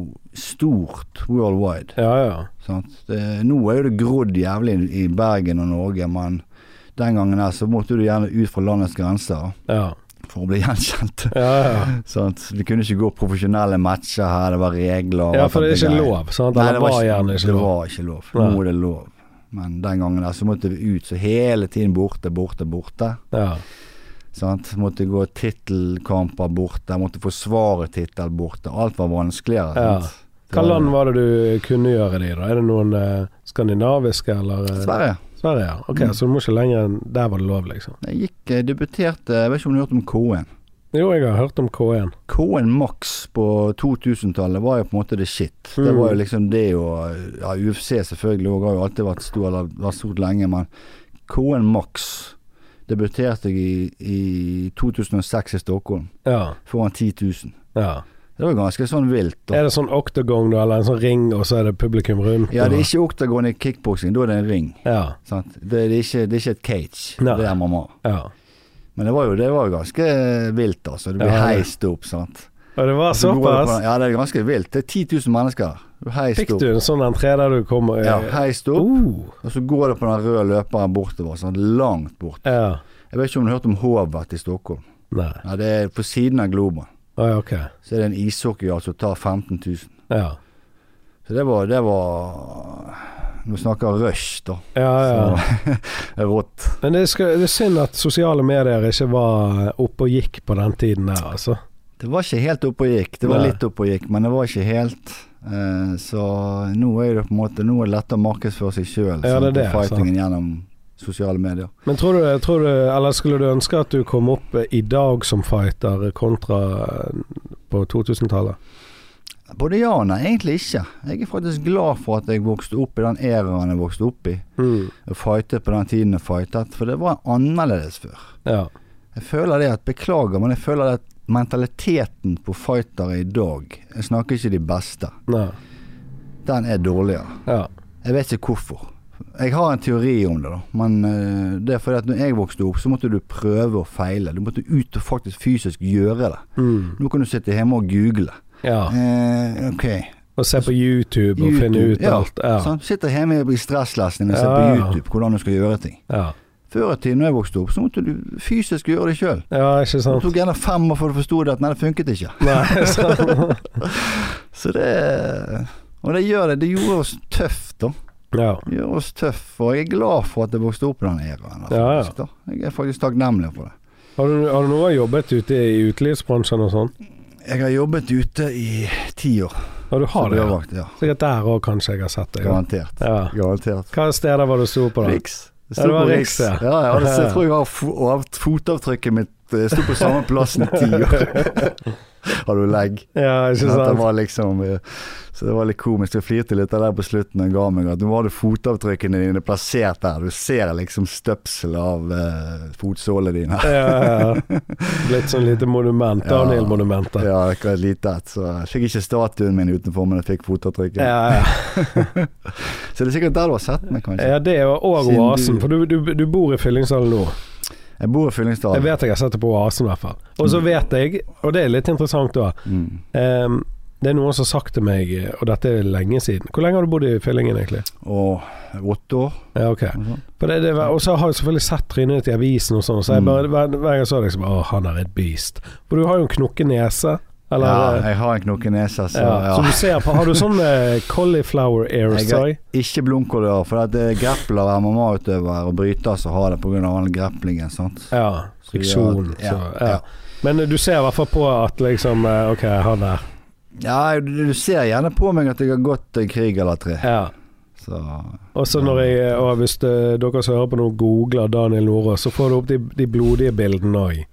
Speaker 2: stort worldwide.
Speaker 1: ja. ja.
Speaker 2: Sant? Det, nå er jo det grodd jævlig i Bergen og Norge, men den gangen her så måtte du gjerne ut fra landets grenser
Speaker 1: ja.
Speaker 2: for å bli gjenkjent.
Speaker 1: ja, ja.
Speaker 2: Sant? Vi kunne ikke gå profesjonelle matcher her, det var regler. og
Speaker 1: ja
Speaker 2: alt
Speaker 1: for det er
Speaker 2: dette
Speaker 1: ikke
Speaker 2: greier.
Speaker 1: lov. Sant?
Speaker 2: Nei,
Speaker 1: Eller var gjerne ikke
Speaker 2: det
Speaker 1: lov.
Speaker 2: var ikke lov.
Speaker 1: Nei.
Speaker 2: Nå er det lov. Men den gangen der så måtte vi ut, så hele tiden borte, borte, borte.
Speaker 1: Ja.
Speaker 2: Sant? Måtte gå tittelkamper borte, måtte forsvare tittel borte. Alt var vanskeligere.
Speaker 1: Ja.
Speaker 2: sant? Det
Speaker 1: Hva
Speaker 2: var-
Speaker 1: land var det du kunne gjøre det i, da? Er det noen eh, skandinaviske, eller eh,
Speaker 2: Sverige.
Speaker 1: Sverige, ja. Ok,
Speaker 2: Mm.
Speaker 1: så du må ikke lenger enn Der var det lov, liksom.
Speaker 2: Jeg gikk, jeg debuterte, jeg vet ikke om E du har hørt om Cohen.
Speaker 1: Jo, jeg har hørt om K1.
Speaker 2: Cohen Max på 2000-tallet var jo på en måte det shit. Det
Speaker 1: Mm.
Speaker 2: var jo liksom det og ja, UFC selvfølgelig òg, har jo alltid vært stor, eller vært stort lenge, men Cohen Max debuterte jeg i, i 2006 i Stockholm
Speaker 1: Ja.
Speaker 2: foran 10 000.
Speaker 1: ja.
Speaker 2: Det var ganske sånn vilt. da.
Speaker 1: Er det sånn oktagon, da, eller en sånn ring, og så er det publikum rundt?
Speaker 2: Ja, det er
Speaker 1: og-
Speaker 2: ikke oktagon i kickboksing, da er det en ring.
Speaker 1: Ja.
Speaker 2: Sant? Det, det, er ikke, det er ikke et cage,
Speaker 1: Nei.
Speaker 2: det er mamma.
Speaker 1: ja.
Speaker 2: Men det var jo, det var jo ganske vilt, altså. Du blir
Speaker 1: Ja, det-
Speaker 2: heist opp, sant.
Speaker 1: Og det var
Speaker 2: Så Altså, går det
Speaker 1: såpass?
Speaker 2: på- Ja, det er ganske vilt. Det er 10 000 mennesker. Du er Heist
Speaker 1: Fikk
Speaker 2: opp.
Speaker 1: du en sånn entré der du kom og
Speaker 2: Ja, heist opp,
Speaker 1: Uh,
Speaker 2: Eh, og så går det på den røde løperen bortover, sånn langt bort.
Speaker 1: ja.
Speaker 2: Jeg vet ikke om du har hørt om Hovet i Stockholm?
Speaker 1: Nei.
Speaker 2: Nei, det er på siden av Globen.
Speaker 1: Å ja, ok.
Speaker 2: Så er det en ishockeyhall som tar 15 000.
Speaker 1: Ja.
Speaker 2: Så det var, det var Nå snakker jeg rush, da.
Speaker 1: Ja, ja.
Speaker 2: Så, rått.
Speaker 1: Men det, skal, det er synd at sosiale medier ikke var oppe og gikk på den tiden der, altså.
Speaker 2: Det var ikke helt opp og gikk. Det var
Speaker 1: Nei.
Speaker 2: litt opp og gikk, men det var ikke helt. Eh, så nå er det på en måte Nå er det lett å markedsføre seg sjøl.
Speaker 1: Ja, det er det,
Speaker 2: Fightingen gjennom sosiale medier.
Speaker 1: Men tror du, tror du Eller skulle du ønske at du kom opp eh, i dag som fighter kontra eh, på 2000-tallet?
Speaker 2: Både ja og nei, egentlig ikke. Jeg er faktisk glad for at jeg vokste opp i den æraen jeg vokste opp i.
Speaker 1: Mm.
Speaker 2: Og fightet på den tiden jeg fightet, for det var annerledes før.
Speaker 1: Ja.
Speaker 2: Jeg føler det at Beklager, men jeg føler det at mentaliteten på fightere i dag Jeg snakker ikke de beste.
Speaker 1: Nei.
Speaker 2: Den er dårligere.
Speaker 1: Ja.
Speaker 2: Jeg vet ikke hvorfor. Jeg har en teori om det, da. Men eh, det er fordi at når jeg vokste opp, så måtte du prøve og feile. Du måtte ut og faktisk fysisk gjøre det.
Speaker 1: Mm.
Speaker 2: Nå kan du sitte hjemme og google.
Speaker 1: ja.
Speaker 2: Eh, ok.
Speaker 1: Og se på YouTube og finne ut
Speaker 2: ja, Sånn.
Speaker 1: alt. Ja.
Speaker 2: sant? Sitter hjemme i stresslesning og ser
Speaker 1: Ja,
Speaker 2: på
Speaker 1: ja.
Speaker 2: YouTube hvordan du skal gjøre ting.
Speaker 1: Ja.
Speaker 2: Før i tiden når jeg vokste opp, så måtte du fysisk gjøre det sjøl.
Speaker 1: ja, ikke
Speaker 2: Det
Speaker 1: sant?
Speaker 2: tok gjerne fem år før du forsto det at nei, det funket ikke.
Speaker 1: Nei, sant?
Speaker 2: Så det Og det gjør det. Det gjorde oss tøff, da.
Speaker 1: Ja.
Speaker 2: Det gjør oss tøff, og jeg er glad for at jeg vokste opp i den æraen. altså,
Speaker 1: Ja, ja.
Speaker 2: faktisk, da. Jeg er faktisk takknemlig for det.
Speaker 1: Har du, har du noe jobbet ute i utelivsbransjen og sånn?
Speaker 2: Jeg har jobbet ute i ti år.
Speaker 1: Ja, du har
Speaker 2: som
Speaker 1: det? Ja.
Speaker 2: dørvakt, ja.
Speaker 1: Sikkert der òg, kanskje jeg har sett deg. Ja.
Speaker 2: Garantert.
Speaker 1: Ja.
Speaker 2: Garantert.
Speaker 1: Hva steder var det du sto på, da?
Speaker 2: Riks.
Speaker 1: Ja, det var Riks,
Speaker 2: ja.
Speaker 1: ja.
Speaker 2: ja, ja det, jeg tror jeg har fo- og hatt fotavtrykket mitt eh, sto på samme plassen i ti år. har du legg?
Speaker 1: Ja, ikke
Speaker 2: Sånn at det
Speaker 1: sant?
Speaker 2: var liksom, eh, så det var litt komisk. Jeg flirte litt av det på slutten og ga meg at nå har du fotavtrykkene dine plassert der. Du ser liksom støpsel av eh, fotsålene dine.
Speaker 1: Ja, ja, ja. Litt sånn lite monument.
Speaker 2: Ja.
Speaker 1: Daniel-monumentet.
Speaker 2: Ja, akkurat lite et. Så jeg fikk ikke statuen min utenfor, men jeg fikk fotavtrykket.
Speaker 1: Ja, ja.
Speaker 2: Så det er sikkert der du har sett meg, kanskje.
Speaker 1: ja, det er jo og
Speaker 2: Siden du-
Speaker 1: Oasen, for du, du, du bor i Fyllingsdalen nå.
Speaker 2: Jeg bor i
Speaker 1: Jeg
Speaker 2: Fyllingsdalen.
Speaker 1: vet jeg har sett det på Oasen i hvert fall. Og så vet jeg, og det er litt interessant da,
Speaker 2: Mm.
Speaker 1: ehm, det er noen som har sagt til meg, og dette er lenge siden Hvor lenge har du bodd i Fyllingen egentlig?
Speaker 2: Og åtte år.
Speaker 1: Ja, ok.
Speaker 2: og sånn.
Speaker 1: For det, det, var- og så har jeg selvfølgelig sett trynet ditt i avisen og sånn, så jeg
Speaker 2: Mm.
Speaker 1: bare, hver, hver gang jeg så deg, så bare Å, han er et beast. For du har jo en knokkenese, eller
Speaker 2: Ja,
Speaker 1: eh,
Speaker 2: jeg har en knokkenese, så
Speaker 1: ja,
Speaker 2: ja.
Speaker 1: Som du ser på. Har du sånn eh, cauliflower ears,
Speaker 2: Jeg
Speaker 1: sorry?
Speaker 2: er ikke blomkål i år, for eh, det er grappler, MMA-utøvere og brytere som har det pga. all graplingen. sant?
Speaker 1: Ja.
Speaker 2: Så vi har-
Speaker 1: Friksjon.
Speaker 2: ja,
Speaker 1: så, ja.
Speaker 2: ja.
Speaker 1: Men eh, du ser i hvert fall på at liksom eh, Ok, han der.
Speaker 2: Ja, du, du ser gjerne på meg at jeg har gått en krig eller tre.
Speaker 1: Ja.
Speaker 2: Så
Speaker 1: Og så når jeg, og hvis eh, dere som hører på noe googler Daniel Nordås, så får du opp de, de blodige bildene òg.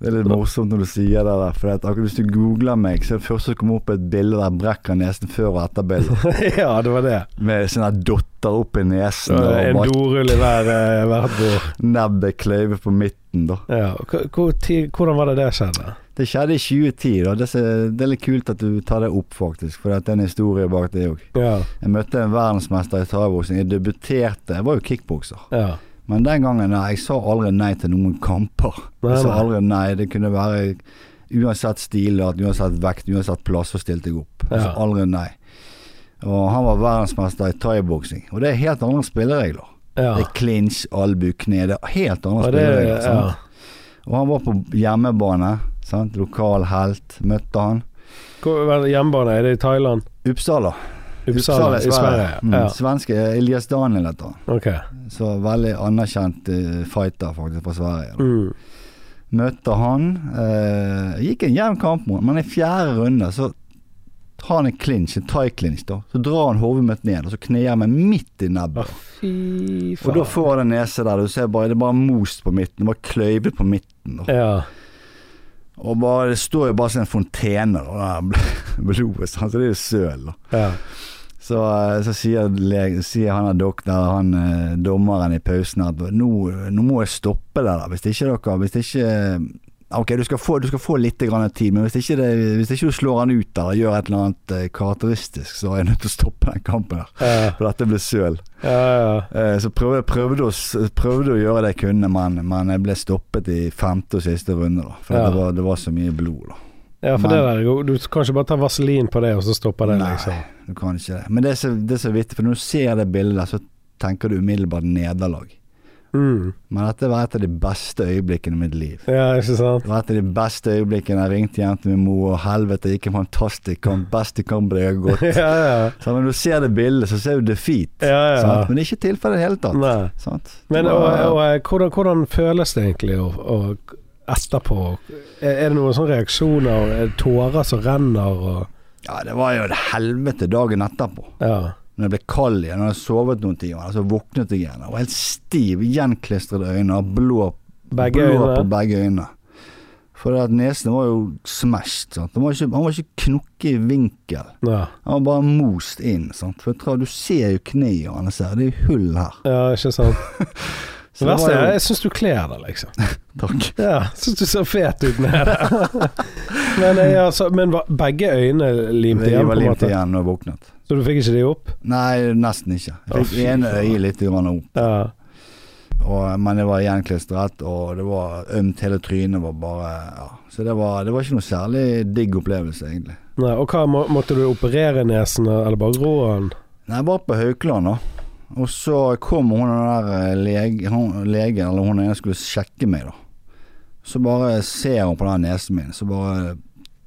Speaker 2: det er litt morsomt når du sier det der. For at akkurat hvis du googler meg, så er det første som kommer opp et bilde der jeg brekker nesen før og etter bildet.
Speaker 1: ja, det var det.
Speaker 2: Med sånne dotter opp i nesen og
Speaker 1: eh, En
Speaker 2: bare
Speaker 1: dorull i hver, eh, hvert bord.
Speaker 2: nebbet kløyve på midten, da.
Speaker 1: Ja. Hvor- hvor tid- Hvordan var det det skjedde?
Speaker 2: Det skjedde i 2010, da. Det er det er litt kult at du tar det opp, faktisk. For det er en historie bak det òg.
Speaker 1: Ja.
Speaker 2: Jeg møtte en verdensmester i thaiboksing. Jeg debuterte, jeg var jo kickbokser.
Speaker 1: ja.
Speaker 2: Men den gangen, nei, jeg sa aldri nei til noen kamper.
Speaker 1: Nei,
Speaker 2: Jeg sa
Speaker 1: nei.
Speaker 2: aldri nei, det kunne være uansett stilart, uansett vekt, uansett plass, så stilte jeg opp. Jeg sa
Speaker 1: Ja.
Speaker 2: aldri nei. Og han var verdensmester i thaiboksing. Og det er helt andre spilleregler.
Speaker 1: ja.
Speaker 2: Det er clinch, albu, kne. Det er helt andre
Speaker 1: Og
Speaker 2: spilleregler.
Speaker 1: det,
Speaker 2: sant?
Speaker 1: ja.
Speaker 2: Og han var på hjemmebane. Sant? Lokal helt. Møtte han.
Speaker 1: Hvor var det hjemmebane? Er det i Thailand?
Speaker 2: Uppsala.
Speaker 1: Uppsala? I Sverige?
Speaker 2: Mm.
Speaker 1: Ja.
Speaker 2: Svenske Elias Daniel heter han.
Speaker 1: Ok.
Speaker 2: Så veldig anerkjent eh, fighter, faktisk, fra Sverige.
Speaker 1: Mm.
Speaker 2: møtte han. Eh, gikk en jevn kamp mot han, men i fjerde runde så tar han en clinch, en thai-clinch. da Så drar han hodet mitt ned, og så kner jeg meg midt i nebbet.
Speaker 1: Fy
Speaker 2: Og da får jeg den nese der. Du ser bare, det er bare most på midten. Det er bare kløyve på midten. Da.
Speaker 1: Ja.
Speaker 2: Og bare, det står jo bare som en fontene, da, det der bl- blodet. sant? Så det er jo søl. da
Speaker 1: ja.
Speaker 2: så, eh, så sier, leg- sier han der doktor, han eh, dommeren i pausen at nå, nå må jeg stoppe det der. Hvis ikke dere Hvis ikke eh, Ok, du skal få, du skal få litt grann tid, men hvis ikke, det, hvis ikke du slår han ut eller gjør et eller annet eh, karakteristisk, så er jeg nødt til å stoppe den kampen her.
Speaker 1: Ja.
Speaker 2: For dette ble søl.
Speaker 1: Ja, ja.
Speaker 2: Eh, Så prøvde, prøvde, å, s- prøvde å gjøre det jeg kunne, men, men jeg ble stoppet i femte og siste runde. Da, for
Speaker 1: Ja.
Speaker 2: det, var, det var så mye blod, da.
Speaker 1: ja, for
Speaker 2: Men-
Speaker 1: det der er jo Du kan ikke bare ta vaselin på det, og så stopper det,
Speaker 2: Nei.
Speaker 1: liksom.
Speaker 2: Du kan ikke det. Men det er så, det er så vittig, for når du ser det bildet der, så tenker du umiddelbart nederlag.
Speaker 1: Mm.
Speaker 2: Men dette var et av de beste øyeblikkene i mitt liv.
Speaker 1: Ja, ikke sant?
Speaker 2: Det var et av de beste øyeblikkene jeg ringte hjem til min mor, og helvete, det gikk en fantastisk kamp, beste kampen jeg har gått.
Speaker 1: ja, ja.
Speaker 2: Så når du ser det bildet, så ser du defeat.
Speaker 1: ja, ja.
Speaker 2: sant? Men det er ikke tilfellet i det hele tatt.
Speaker 1: Nei.
Speaker 2: Sant?
Speaker 1: Men
Speaker 2: Det
Speaker 1: og,
Speaker 2: var-
Speaker 1: og, eh, hvordan, hvordan føles det egentlig å, å etterpå? Er er det noen sånne reaksjoner? Er det Tårer som renner og
Speaker 2: ja, det var jo et helvete dagen etterpå.
Speaker 1: Ja.
Speaker 2: Når jeg ble kald igjen, når jeg sovet noen timer, så våknet jeg igjen. Jeg var helt stiv, gjenklistrede øyne, og blå,
Speaker 1: Begge
Speaker 2: blå
Speaker 1: øyne?
Speaker 2: på begge øynene. For det at nesen var jo smashed. Sant? Han, var ikke, han var ikke knokket i vinkel.
Speaker 1: Ja,
Speaker 2: Han var bare most inn. Sant? For jeg tror, Du ser jo kneet hans her, det er jo hull her.
Speaker 1: ja ikke sant.
Speaker 2: Så
Speaker 1: Det
Speaker 2: det
Speaker 1: verste
Speaker 2: var
Speaker 1: er
Speaker 2: jo-
Speaker 1: jeg syns du kler deg, liksom.
Speaker 2: Takk.
Speaker 1: Ja, syns du ser fet ut med det. men, eh, ja, så, men var begge øynene limt
Speaker 2: Jeg
Speaker 1: igjen, på
Speaker 2: var
Speaker 1: en
Speaker 2: limt
Speaker 1: måte?
Speaker 2: igjen når jeg våknet.
Speaker 1: Så du fikk ikke de opp?
Speaker 2: Nei, nesten ikke.
Speaker 1: Å,
Speaker 2: Jeg fikk
Speaker 1: fy
Speaker 2: ene
Speaker 1: faen.
Speaker 2: øyet litt grann opp,
Speaker 1: Ja.
Speaker 2: og, men det var gjenklistret, og det var ømt hele trynet. var bare, ja. Så det var, det var ikke noe særlig digg opplevelse, egentlig.
Speaker 1: Nei, og hva, må, måtte du operere nesen, eh, eller bare gro den?
Speaker 2: Nei, jeg var på Haukeland, da. Og så kom hun der eh, lege, hun, legen, eller hun ene skulle sjekke meg, da. Så bare ser hun på den nesen min, så bare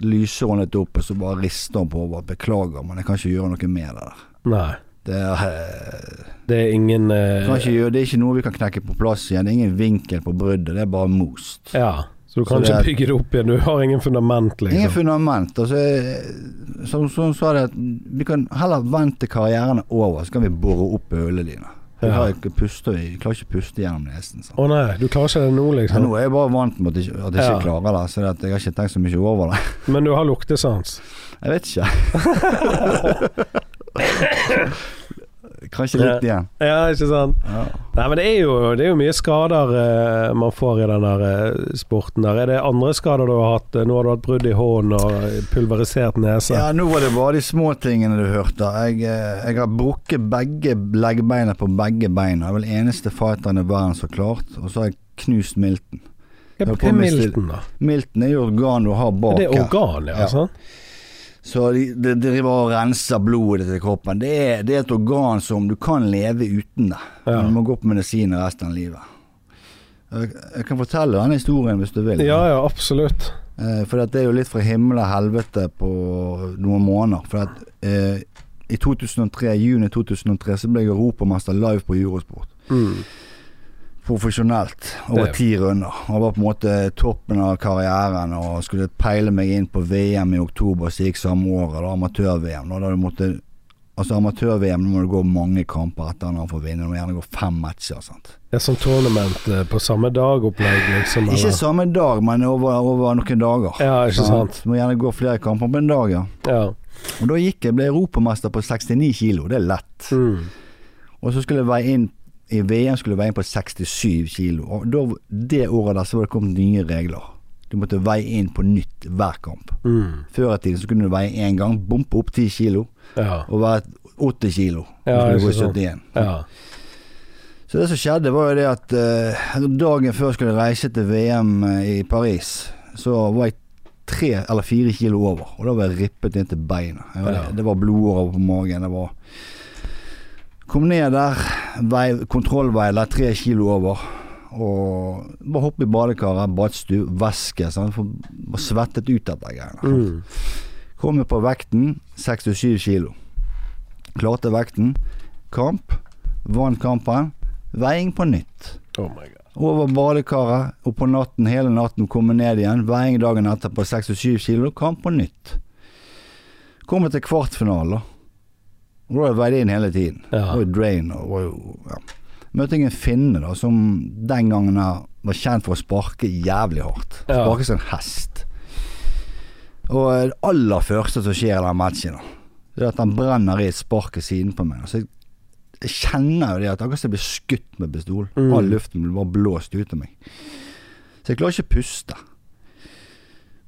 Speaker 2: lyser hun litt opp, og så bare rister hun på og bare beklager, men jeg kan ikke gjøre noe med det der.
Speaker 1: Nei.
Speaker 2: Det er, eh,
Speaker 1: Det er ingen eh,
Speaker 2: kan ikke gjøre, det er ikke noe vi kan knekke på plass igjen. Det er ingen vinkel på bruddet, det er bare most.
Speaker 1: Ja, så du
Speaker 2: Så
Speaker 1: kan
Speaker 2: det
Speaker 1: ikke
Speaker 2: er-
Speaker 1: bygge det opp igjen. Du har ingen fundament, liksom.
Speaker 2: Ingen fundament. Altså, eh, som som hun sa det, at vi kan heller vente karrieren er over, så kan vi bore opp hullene dine. Jeg,
Speaker 1: Ja.
Speaker 2: har ikke puste, jeg klarer ikke å puste gjennom nesen. sant?
Speaker 1: Å nei, du klarer ikke det nå,
Speaker 2: Ja,
Speaker 1: liksom.
Speaker 2: nå er jeg bare vant med at jeg, ikke- at jeg ikke
Speaker 1: Ja.
Speaker 2: klarer det, så det at jeg har ikke tenkt så mye over det.
Speaker 1: Men du har luktesans.
Speaker 2: Jeg vet ikke. Kanskje litt igjen.
Speaker 1: Ja, ikke sant.
Speaker 2: Ja.
Speaker 1: Nei, men det er jo, det er jo mye skader eh, man får i den der eh, sporten der. Er det andre skader du har hatt? Nå har du hatt brudd i hånden og pulverisert nese.
Speaker 2: ja, nå var det bare de små tingene du hørte. Jeg, eh, jeg har brukket begge leggbeina på begge beina. Jeg er vel eneste fighteren i verden som har klart. Og så har jeg knust milten.
Speaker 1: Hva
Speaker 2: jeg har
Speaker 1: hva er
Speaker 2: på meg stil-
Speaker 1: milten, da?
Speaker 2: Milten er jo organ du har bak
Speaker 1: Det er
Speaker 2: her.
Speaker 1: organ, ja.
Speaker 2: Ja.
Speaker 1: Sant?
Speaker 2: Så de, de driver og renser blodet til kroppen. Det er, det er et organ som du kan leve uten det.
Speaker 1: Ja.
Speaker 2: Du må gå på medisiner resten av livet. Jeg, jeg kan fortelle denne historien hvis du vil.
Speaker 1: Ja ja, absolutt.
Speaker 2: Eh, for at det er jo litt fra himmel og helvete på noen måneder. For at, eh, i 2003, juni 2003 så ble jeg europamester live på Eurosport.
Speaker 1: Mm.
Speaker 2: profesjonelt over
Speaker 1: Det-
Speaker 2: ti runder. Han var på en måte toppen av karrieren og skulle peile meg inn på VM i oktober som gikk samme året, da, amatør-VM. Da, da du måtte Altså amatør-VM nå må du gå mange kamper etter han får vinne. Du må gjerne gå fem matcher. sant?
Speaker 1: Det er sånn tournament eh, på samme dag-opplegg, liksom.
Speaker 2: Ikke
Speaker 1: eller?
Speaker 2: samme dag, men over, over noen dager.
Speaker 1: Ja, ikke sant.
Speaker 2: Du må gjerne gå flere kamper på en dag, ja.
Speaker 1: Ja.
Speaker 2: Og da gikk jeg, ble europamester på 69 kilo, det er lett.
Speaker 1: Mm.
Speaker 2: Og så skulle jeg veie inn i VM skulle jeg veie inn på 67 kilo. Og da, det året der så var det kommet nye regler. Du måtte veie inn på nytt hver kamp.
Speaker 1: Mm.
Speaker 2: Før i tiden så kunne du veie én gang, bompe opp 10 kilo,
Speaker 1: Ja.
Speaker 2: og være 80 kilo. Så
Speaker 1: Ja,
Speaker 2: skulle du gå
Speaker 1: ikke sant.
Speaker 2: 71.
Speaker 1: ja.
Speaker 2: Så det som skjedde, var jo det at eh, dagen før jeg skulle reise til VM i Paris, så var jeg tre eller fire kilo over. Og da var jeg rippet inn til beina. Jeg var,
Speaker 1: Ja.
Speaker 2: Det var blodårer på magen. Det var Kom ned der, vei, kontrollveiler, tre kilo over. Og bare hoppe i badekaret, badstue, væske. Sant? For, bare svettet ut dette greiene.
Speaker 1: Mm.
Speaker 2: Kom jeg på vekten, 67 kilo. Klarte vekten. Kamp. Vant kampen. Veiing på nytt.
Speaker 1: Oh my god.
Speaker 2: Over badekaret, og på natten, hele natten kommer ned igjen. Veiing dagen etter på 67 kilo, kamp på nytt. Kommer til kvartfinale, da. Og da har jeg veid inn hele tiden.
Speaker 1: Ja.
Speaker 2: Og drain og, og ja. Møtte jeg en finne da, som den gangen her var kjent for å sparke jævlig hardt.
Speaker 1: Ja.
Speaker 2: Sparke som en hest. Og eh, det aller første som skjer i den matchen, da, det er at han brenner i et spark i siden på meg. Så jeg, jeg kjenner jo det at akkurat som jeg blir skutt med pistol.
Speaker 1: Mm.
Speaker 2: All luften blir bare blåst ut av meg. Så jeg klarer ikke å puste.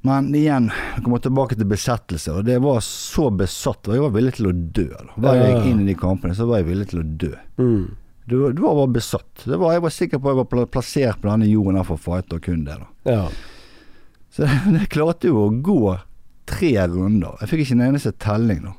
Speaker 2: Men igjen, jeg kommer tilbake til besettelse, og det var så besatt. Og jeg var villig til å dø. Da. Hver gang jeg gikk inn i de kampene, så var jeg villig til å dø.
Speaker 1: Mm.
Speaker 2: Du, du var bare besatt. Det var, jeg var sikker på at jeg var pla- plassert på denne jorden her for fight og kun det. da.
Speaker 1: Ja.
Speaker 2: Så jeg klarte jo å gå tre runder. Jeg fikk ikke en eneste telling da.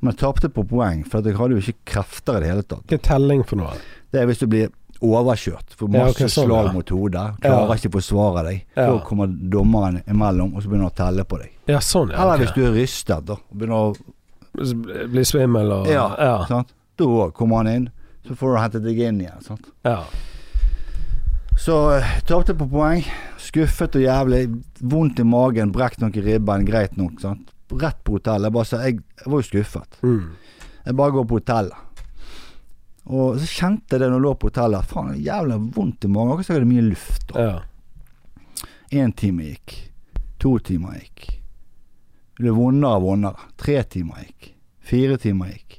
Speaker 2: Men jeg tapte på poeng, for at jeg hadde jo ikke krefter i det hele tatt.
Speaker 1: Hva er telling for noe?
Speaker 2: Det er hvis du blir overkjørt, for
Speaker 1: Ja,
Speaker 2: masse
Speaker 1: ok, sånn,
Speaker 2: slag
Speaker 1: ja.
Speaker 2: mot hodet, klarer
Speaker 1: Ja.
Speaker 2: ikke å forsvare deg.
Speaker 1: Ja.
Speaker 2: Da kommer dommeren imellom, og så begynner han å telle på deg.
Speaker 1: Ja, sånn, ja.
Speaker 2: Eller
Speaker 1: ok.
Speaker 2: hvis du er rystet, da. og Begynner å
Speaker 1: Så bli- Bli svimmel og
Speaker 2: Ja.
Speaker 1: Ja.
Speaker 2: Sant? Da kommer han inn, så får du hentet deg inn igjen. Sant?
Speaker 1: ja.
Speaker 2: Så eh, tapte på poeng. Skuffet og jævlig. Vondt i magen, brekt noe i ribben, greit nok. Sant? Rett på hotellet. Jeg, bare, sa- jeg, jeg var jo skuffet.
Speaker 1: Mm.
Speaker 2: Jeg bare går på hotellet. Og så kjente jeg det når jeg lå på hotellet. Faen, det er jævlig vondt i magen. Akkurat som jeg hadde mye luft. da.
Speaker 1: ja.
Speaker 2: Én time gikk. To timer gikk. Det ble vondere og vondere. Tre timer gikk. Fire timer gikk.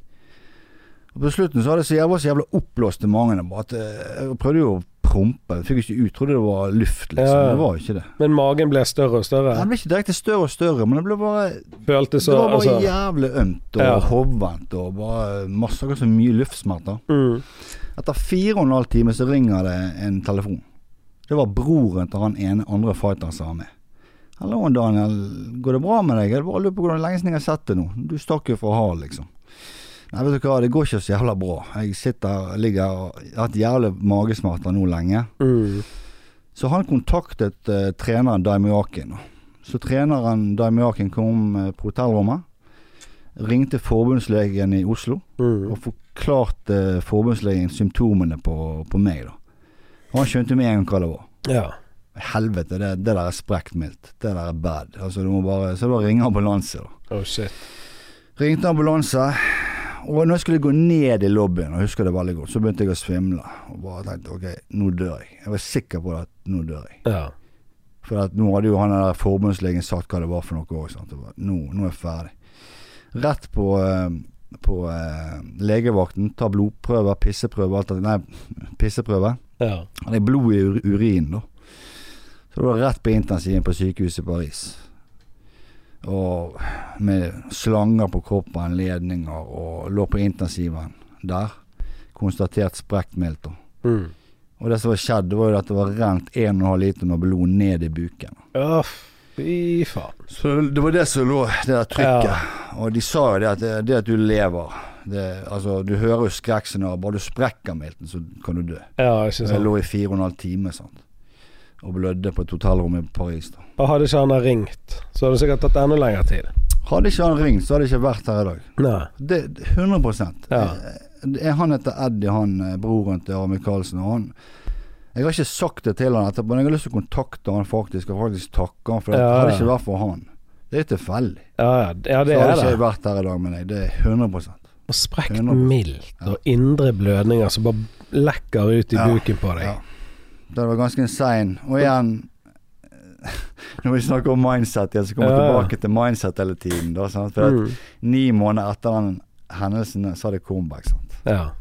Speaker 2: Og På slutten så hadde jeg så jævla, så jævla oppblåst i magen. bare at, eh, Jeg prøvde jo å prompe. Jeg Fikk ikke ut. Trodde det var luft, liksom.
Speaker 1: Ja.
Speaker 2: Det var jo ikke det.
Speaker 1: Men magen ble større og større.
Speaker 2: Den ble ikke direkte større og større, men det ble bare
Speaker 1: Føltes
Speaker 2: det
Speaker 1: så
Speaker 2: var bare
Speaker 1: altså,
Speaker 2: jævlig ømt og
Speaker 1: Ja.
Speaker 2: hovent og bare masse akkurat så mye luftsmerter.
Speaker 1: mm.
Speaker 2: Etter fire og en halv time så ringer det en telefon. Det var broren til han ene andre fighteren som var med. 'Hallo, Daniel. Går det bra med deg?' 'Jeg bare lurer på hvordan lenge siden jeg har sett deg nå.' 'Du stakk jo fra halen, liksom.' 'Nei, vet du hva, det går ikke så jævla bra. Jeg sitter, ligger og jeg har hatt jævlig magesmerter nå lenge.'
Speaker 1: Mm.
Speaker 2: Så han kontaktet eh, treneren Daimiaken. Så treneren Daimiaken kom eh, på hotellrommet. Ringte forbundslegen i Oslo
Speaker 1: Mm.
Speaker 2: og forklarte forbundslegen symptomene på, på meg. da Og han skjønte med en gang hva det var.
Speaker 1: Ja.
Speaker 2: Helvete, det, det der er sprekt mildt. Det der er bad. Altså, du må bare, så da ringer ambulanse. da
Speaker 1: Oh shit.
Speaker 2: Ringte ambulanse, og når jeg skulle gå ned i lobbyen, og jeg husker det veldig godt, så begynte jeg å svimle. Og bare tenkte ok, nå dør jeg. Jeg var sikker på at nå dør jeg.
Speaker 1: Ja.
Speaker 2: For at nå hadde jo han der forbundslegen sagt hva det var for noe òg. Nå, nå er jeg ferdig. Rett på, eh, på eh, legevakten, ta blodprøver, pisseprøver alt det, Nei, pisseprøver.
Speaker 1: Ja.
Speaker 2: Det er blod i ur- urinen, da. Så det var rett på intensiven på sykehuset i Paris. Og med slanger på kroppen, ledninger, og lå på intensiven der. Konstatert sprekt mildt, da.
Speaker 1: Mm.
Speaker 2: Og det som var skjedd, det var jo at det var rent 1,5 liter med blod ned i buken.
Speaker 1: Å, fy faen.
Speaker 2: Så det var det som lå, det der trykket. Og de sa jo det at det, det at du lever det, Altså, du hører jo skrekkscenarioer. Bare du sprekker milten, så kan du dø.
Speaker 1: Ja, ikke
Speaker 2: Jeg
Speaker 1: sant.
Speaker 2: lå i fire og en halv time sant? og blødde på et hotellrom i Paris. da
Speaker 1: Og hadde ikke han her ringt, så hadde det sikkert tatt enda lengre tid.
Speaker 2: Hadde ikke han ringt, så hadde jeg ikke vært her i dag.
Speaker 1: Nei.
Speaker 2: Det, det- 100
Speaker 1: Ja.
Speaker 2: Eh, det er Han heter Eddie, han eh, broren til Arne Michaelsen. Og han, Jeg har ikke sagt det til han etterpå, men jeg har lyst til å kontakte han faktisk, og faktisk takke han, for det
Speaker 1: Ja,
Speaker 2: hadde
Speaker 1: ja.
Speaker 2: ikke vært for han. Det er tilfeldig.
Speaker 1: Ja, ja, d- ja
Speaker 2: Så
Speaker 1: det
Speaker 2: hadde
Speaker 1: er
Speaker 2: ikke jeg
Speaker 1: det.
Speaker 2: vært her i dag med deg. Det er 100
Speaker 1: Og sprekt
Speaker 2: 100%.
Speaker 1: mildt og indre blødninger som bare lekker ut i
Speaker 2: Ja,
Speaker 1: buken på
Speaker 2: ja.
Speaker 1: deg.
Speaker 2: Det var ganske insane. Og igjen Når vi snakker om mindset, igjen, så kommer jeg
Speaker 1: Ja, ja.
Speaker 2: tilbake til mindset hele tiden. Da, sant? For
Speaker 1: Mm.
Speaker 2: at Ni måneder etter den hendelsen så hadde jeg comeback. Sant?
Speaker 1: Ja.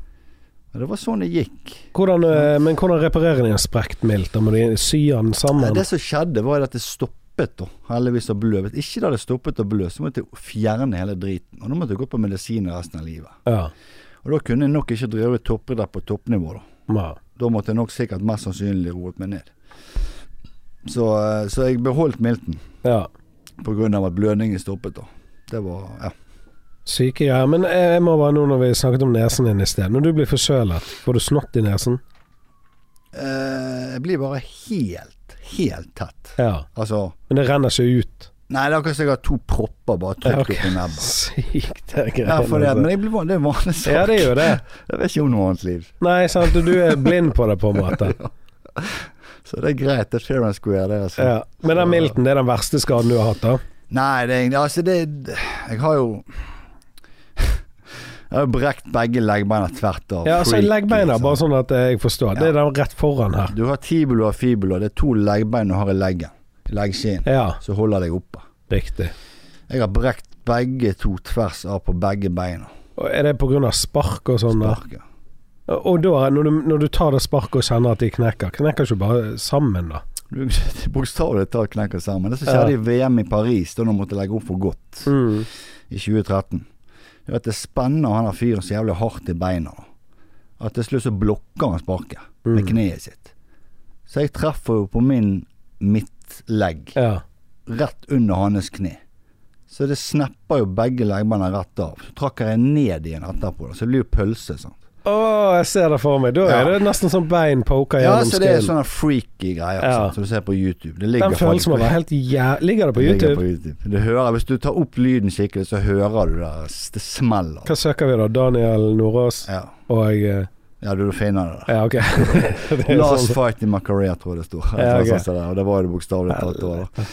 Speaker 2: Og det var sånn det gikk.
Speaker 1: Hvordan, eh, men hvordan reparerer de en sprekt mildt? Da må de sy den
Speaker 2: Nei,
Speaker 1: sammen?
Speaker 2: det som skjedde, var at det stoppet, da. Heldigvis å blø. Hvis ikke det hadde stoppet å blø, så måtte jeg fjerne hele driten. Og da måtte jeg gå på medisiner resten av livet.
Speaker 1: Ja.
Speaker 2: Og da kunne jeg nok ikke drevet toppidrett på toppnivå, da.
Speaker 1: ja.
Speaker 2: Da måtte jeg nok sikkert mest sannsynlig roet meg ned. Så, eh, så jeg beholdt milten.
Speaker 1: ja.
Speaker 2: På grunn av at blødningen stoppet da. Det var, ja.
Speaker 1: Syke greier. Men jeg, jeg må bare nå når vi snakket om nesen din i sted. Når du blir forkjølet, får du snott i nesen?
Speaker 2: Eh, Jeg blir bare helt, helt tett.
Speaker 1: Ja.
Speaker 2: Altså,
Speaker 1: Men det renner ikke ut.
Speaker 2: nei det er akkurat som jeg har to propper bare
Speaker 1: Ja,
Speaker 2: trykt
Speaker 1: ok.
Speaker 2: opp i nebbet.
Speaker 1: Sykt, det er altså. greiene.
Speaker 2: Ja, for det, men jeg blir van, det er en vanlig sak.
Speaker 1: ja, det er jo det.
Speaker 2: Jeg vet ikke om noe annet liv.
Speaker 1: Nei, sant. Du er blind på det, på en måte.
Speaker 2: Så det er greit, det er fair and square det, altså.
Speaker 1: Ja. Men den milten, det er den verste skaden du har hatt, da?
Speaker 2: Nei, det er egentlig, altså det, jeg har jo, jeg har jo brekt begge leggbeina tvert av.
Speaker 1: Ja, altså
Speaker 2: Freaky,
Speaker 1: leggbeina,
Speaker 2: sant?
Speaker 1: bare sånn at jeg forstår. Det er den rett foran her.
Speaker 2: Du har tibula og fibula, det er to leggbein du har i leggen. Leggskinn,
Speaker 1: Ja,
Speaker 2: så holder deg oppe.
Speaker 1: riktig.
Speaker 2: Jeg har brekt begge to tvers av på begge beina.
Speaker 1: Og er det pga. spark og sånn? da?
Speaker 2: Sparket.
Speaker 1: Og da, når du, når du tar det sparket og kjenner at de knekker, knekker ikke bare sammen, da?
Speaker 2: Du- Bokstavelig talt knekker sammen. Det som
Speaker 1: Ja.
Speaker 2: skjedde i VM i Paris, da de måtte legge opp for godt,
Speaker 1: Mm.
Speaker 2: i 2013, det er at det spenner han der fyren så jævlig hardt i beina. da. At til slutt så blokker han sparket
Speaker 1: Mm.
Speaker 2: med kneet sitt. Så jeg treffer jo på min midtlegg,
Speaker 1: Ja.
Speaker 2: rett under hans kne. Så det snapper jo begge leggbeina rett av. Så trakk jeg ned igjen etterpå, da. så det blir jo pølse. sånn. sant?
Speaker 1: Å, jeg ser det for meg. Da er
Speaker 2: Ja.
Speaker 1: det nesten som bein poker
Speaker 2: Ja,
Speaker 1: gjennom
Speaker 2: så det er
Speaker 1: skallen.
Speaker 2: sånne freaky greier
Speaker 1: Ja.
Speaker 2: sant, som du ser på YouTube. Det
Speaker 1: Den
Speaker 2: ligger
Speaker 1: følelsen
Speaker 2: faktisk-
Speaker 1: må være helt jævlig Ligger det på
Speaker 2: det ligger
Speaker 1: YouTube?
Speaker 2: på YouTube. Du hører, hvis du tar opp lyden skikkelig, så hører du det, s- det smeller.
Speaker 1: Hva søker vi da? Daniel Nordås
Speaker 2: Ja.
Speaker 1: og eh,
Speaker 2: ja, du, du finner det der.
Speaker 1: Ja, ok. Det er
Speaker 2: Last
Speaker 1: sånn.
Speaker 2: fight in my career, tror jeg det sto.
Speaker 1: Ja, ok.
Speaker 2: Sånn som det er, Og det var jo det bokstavelig talt. det var da.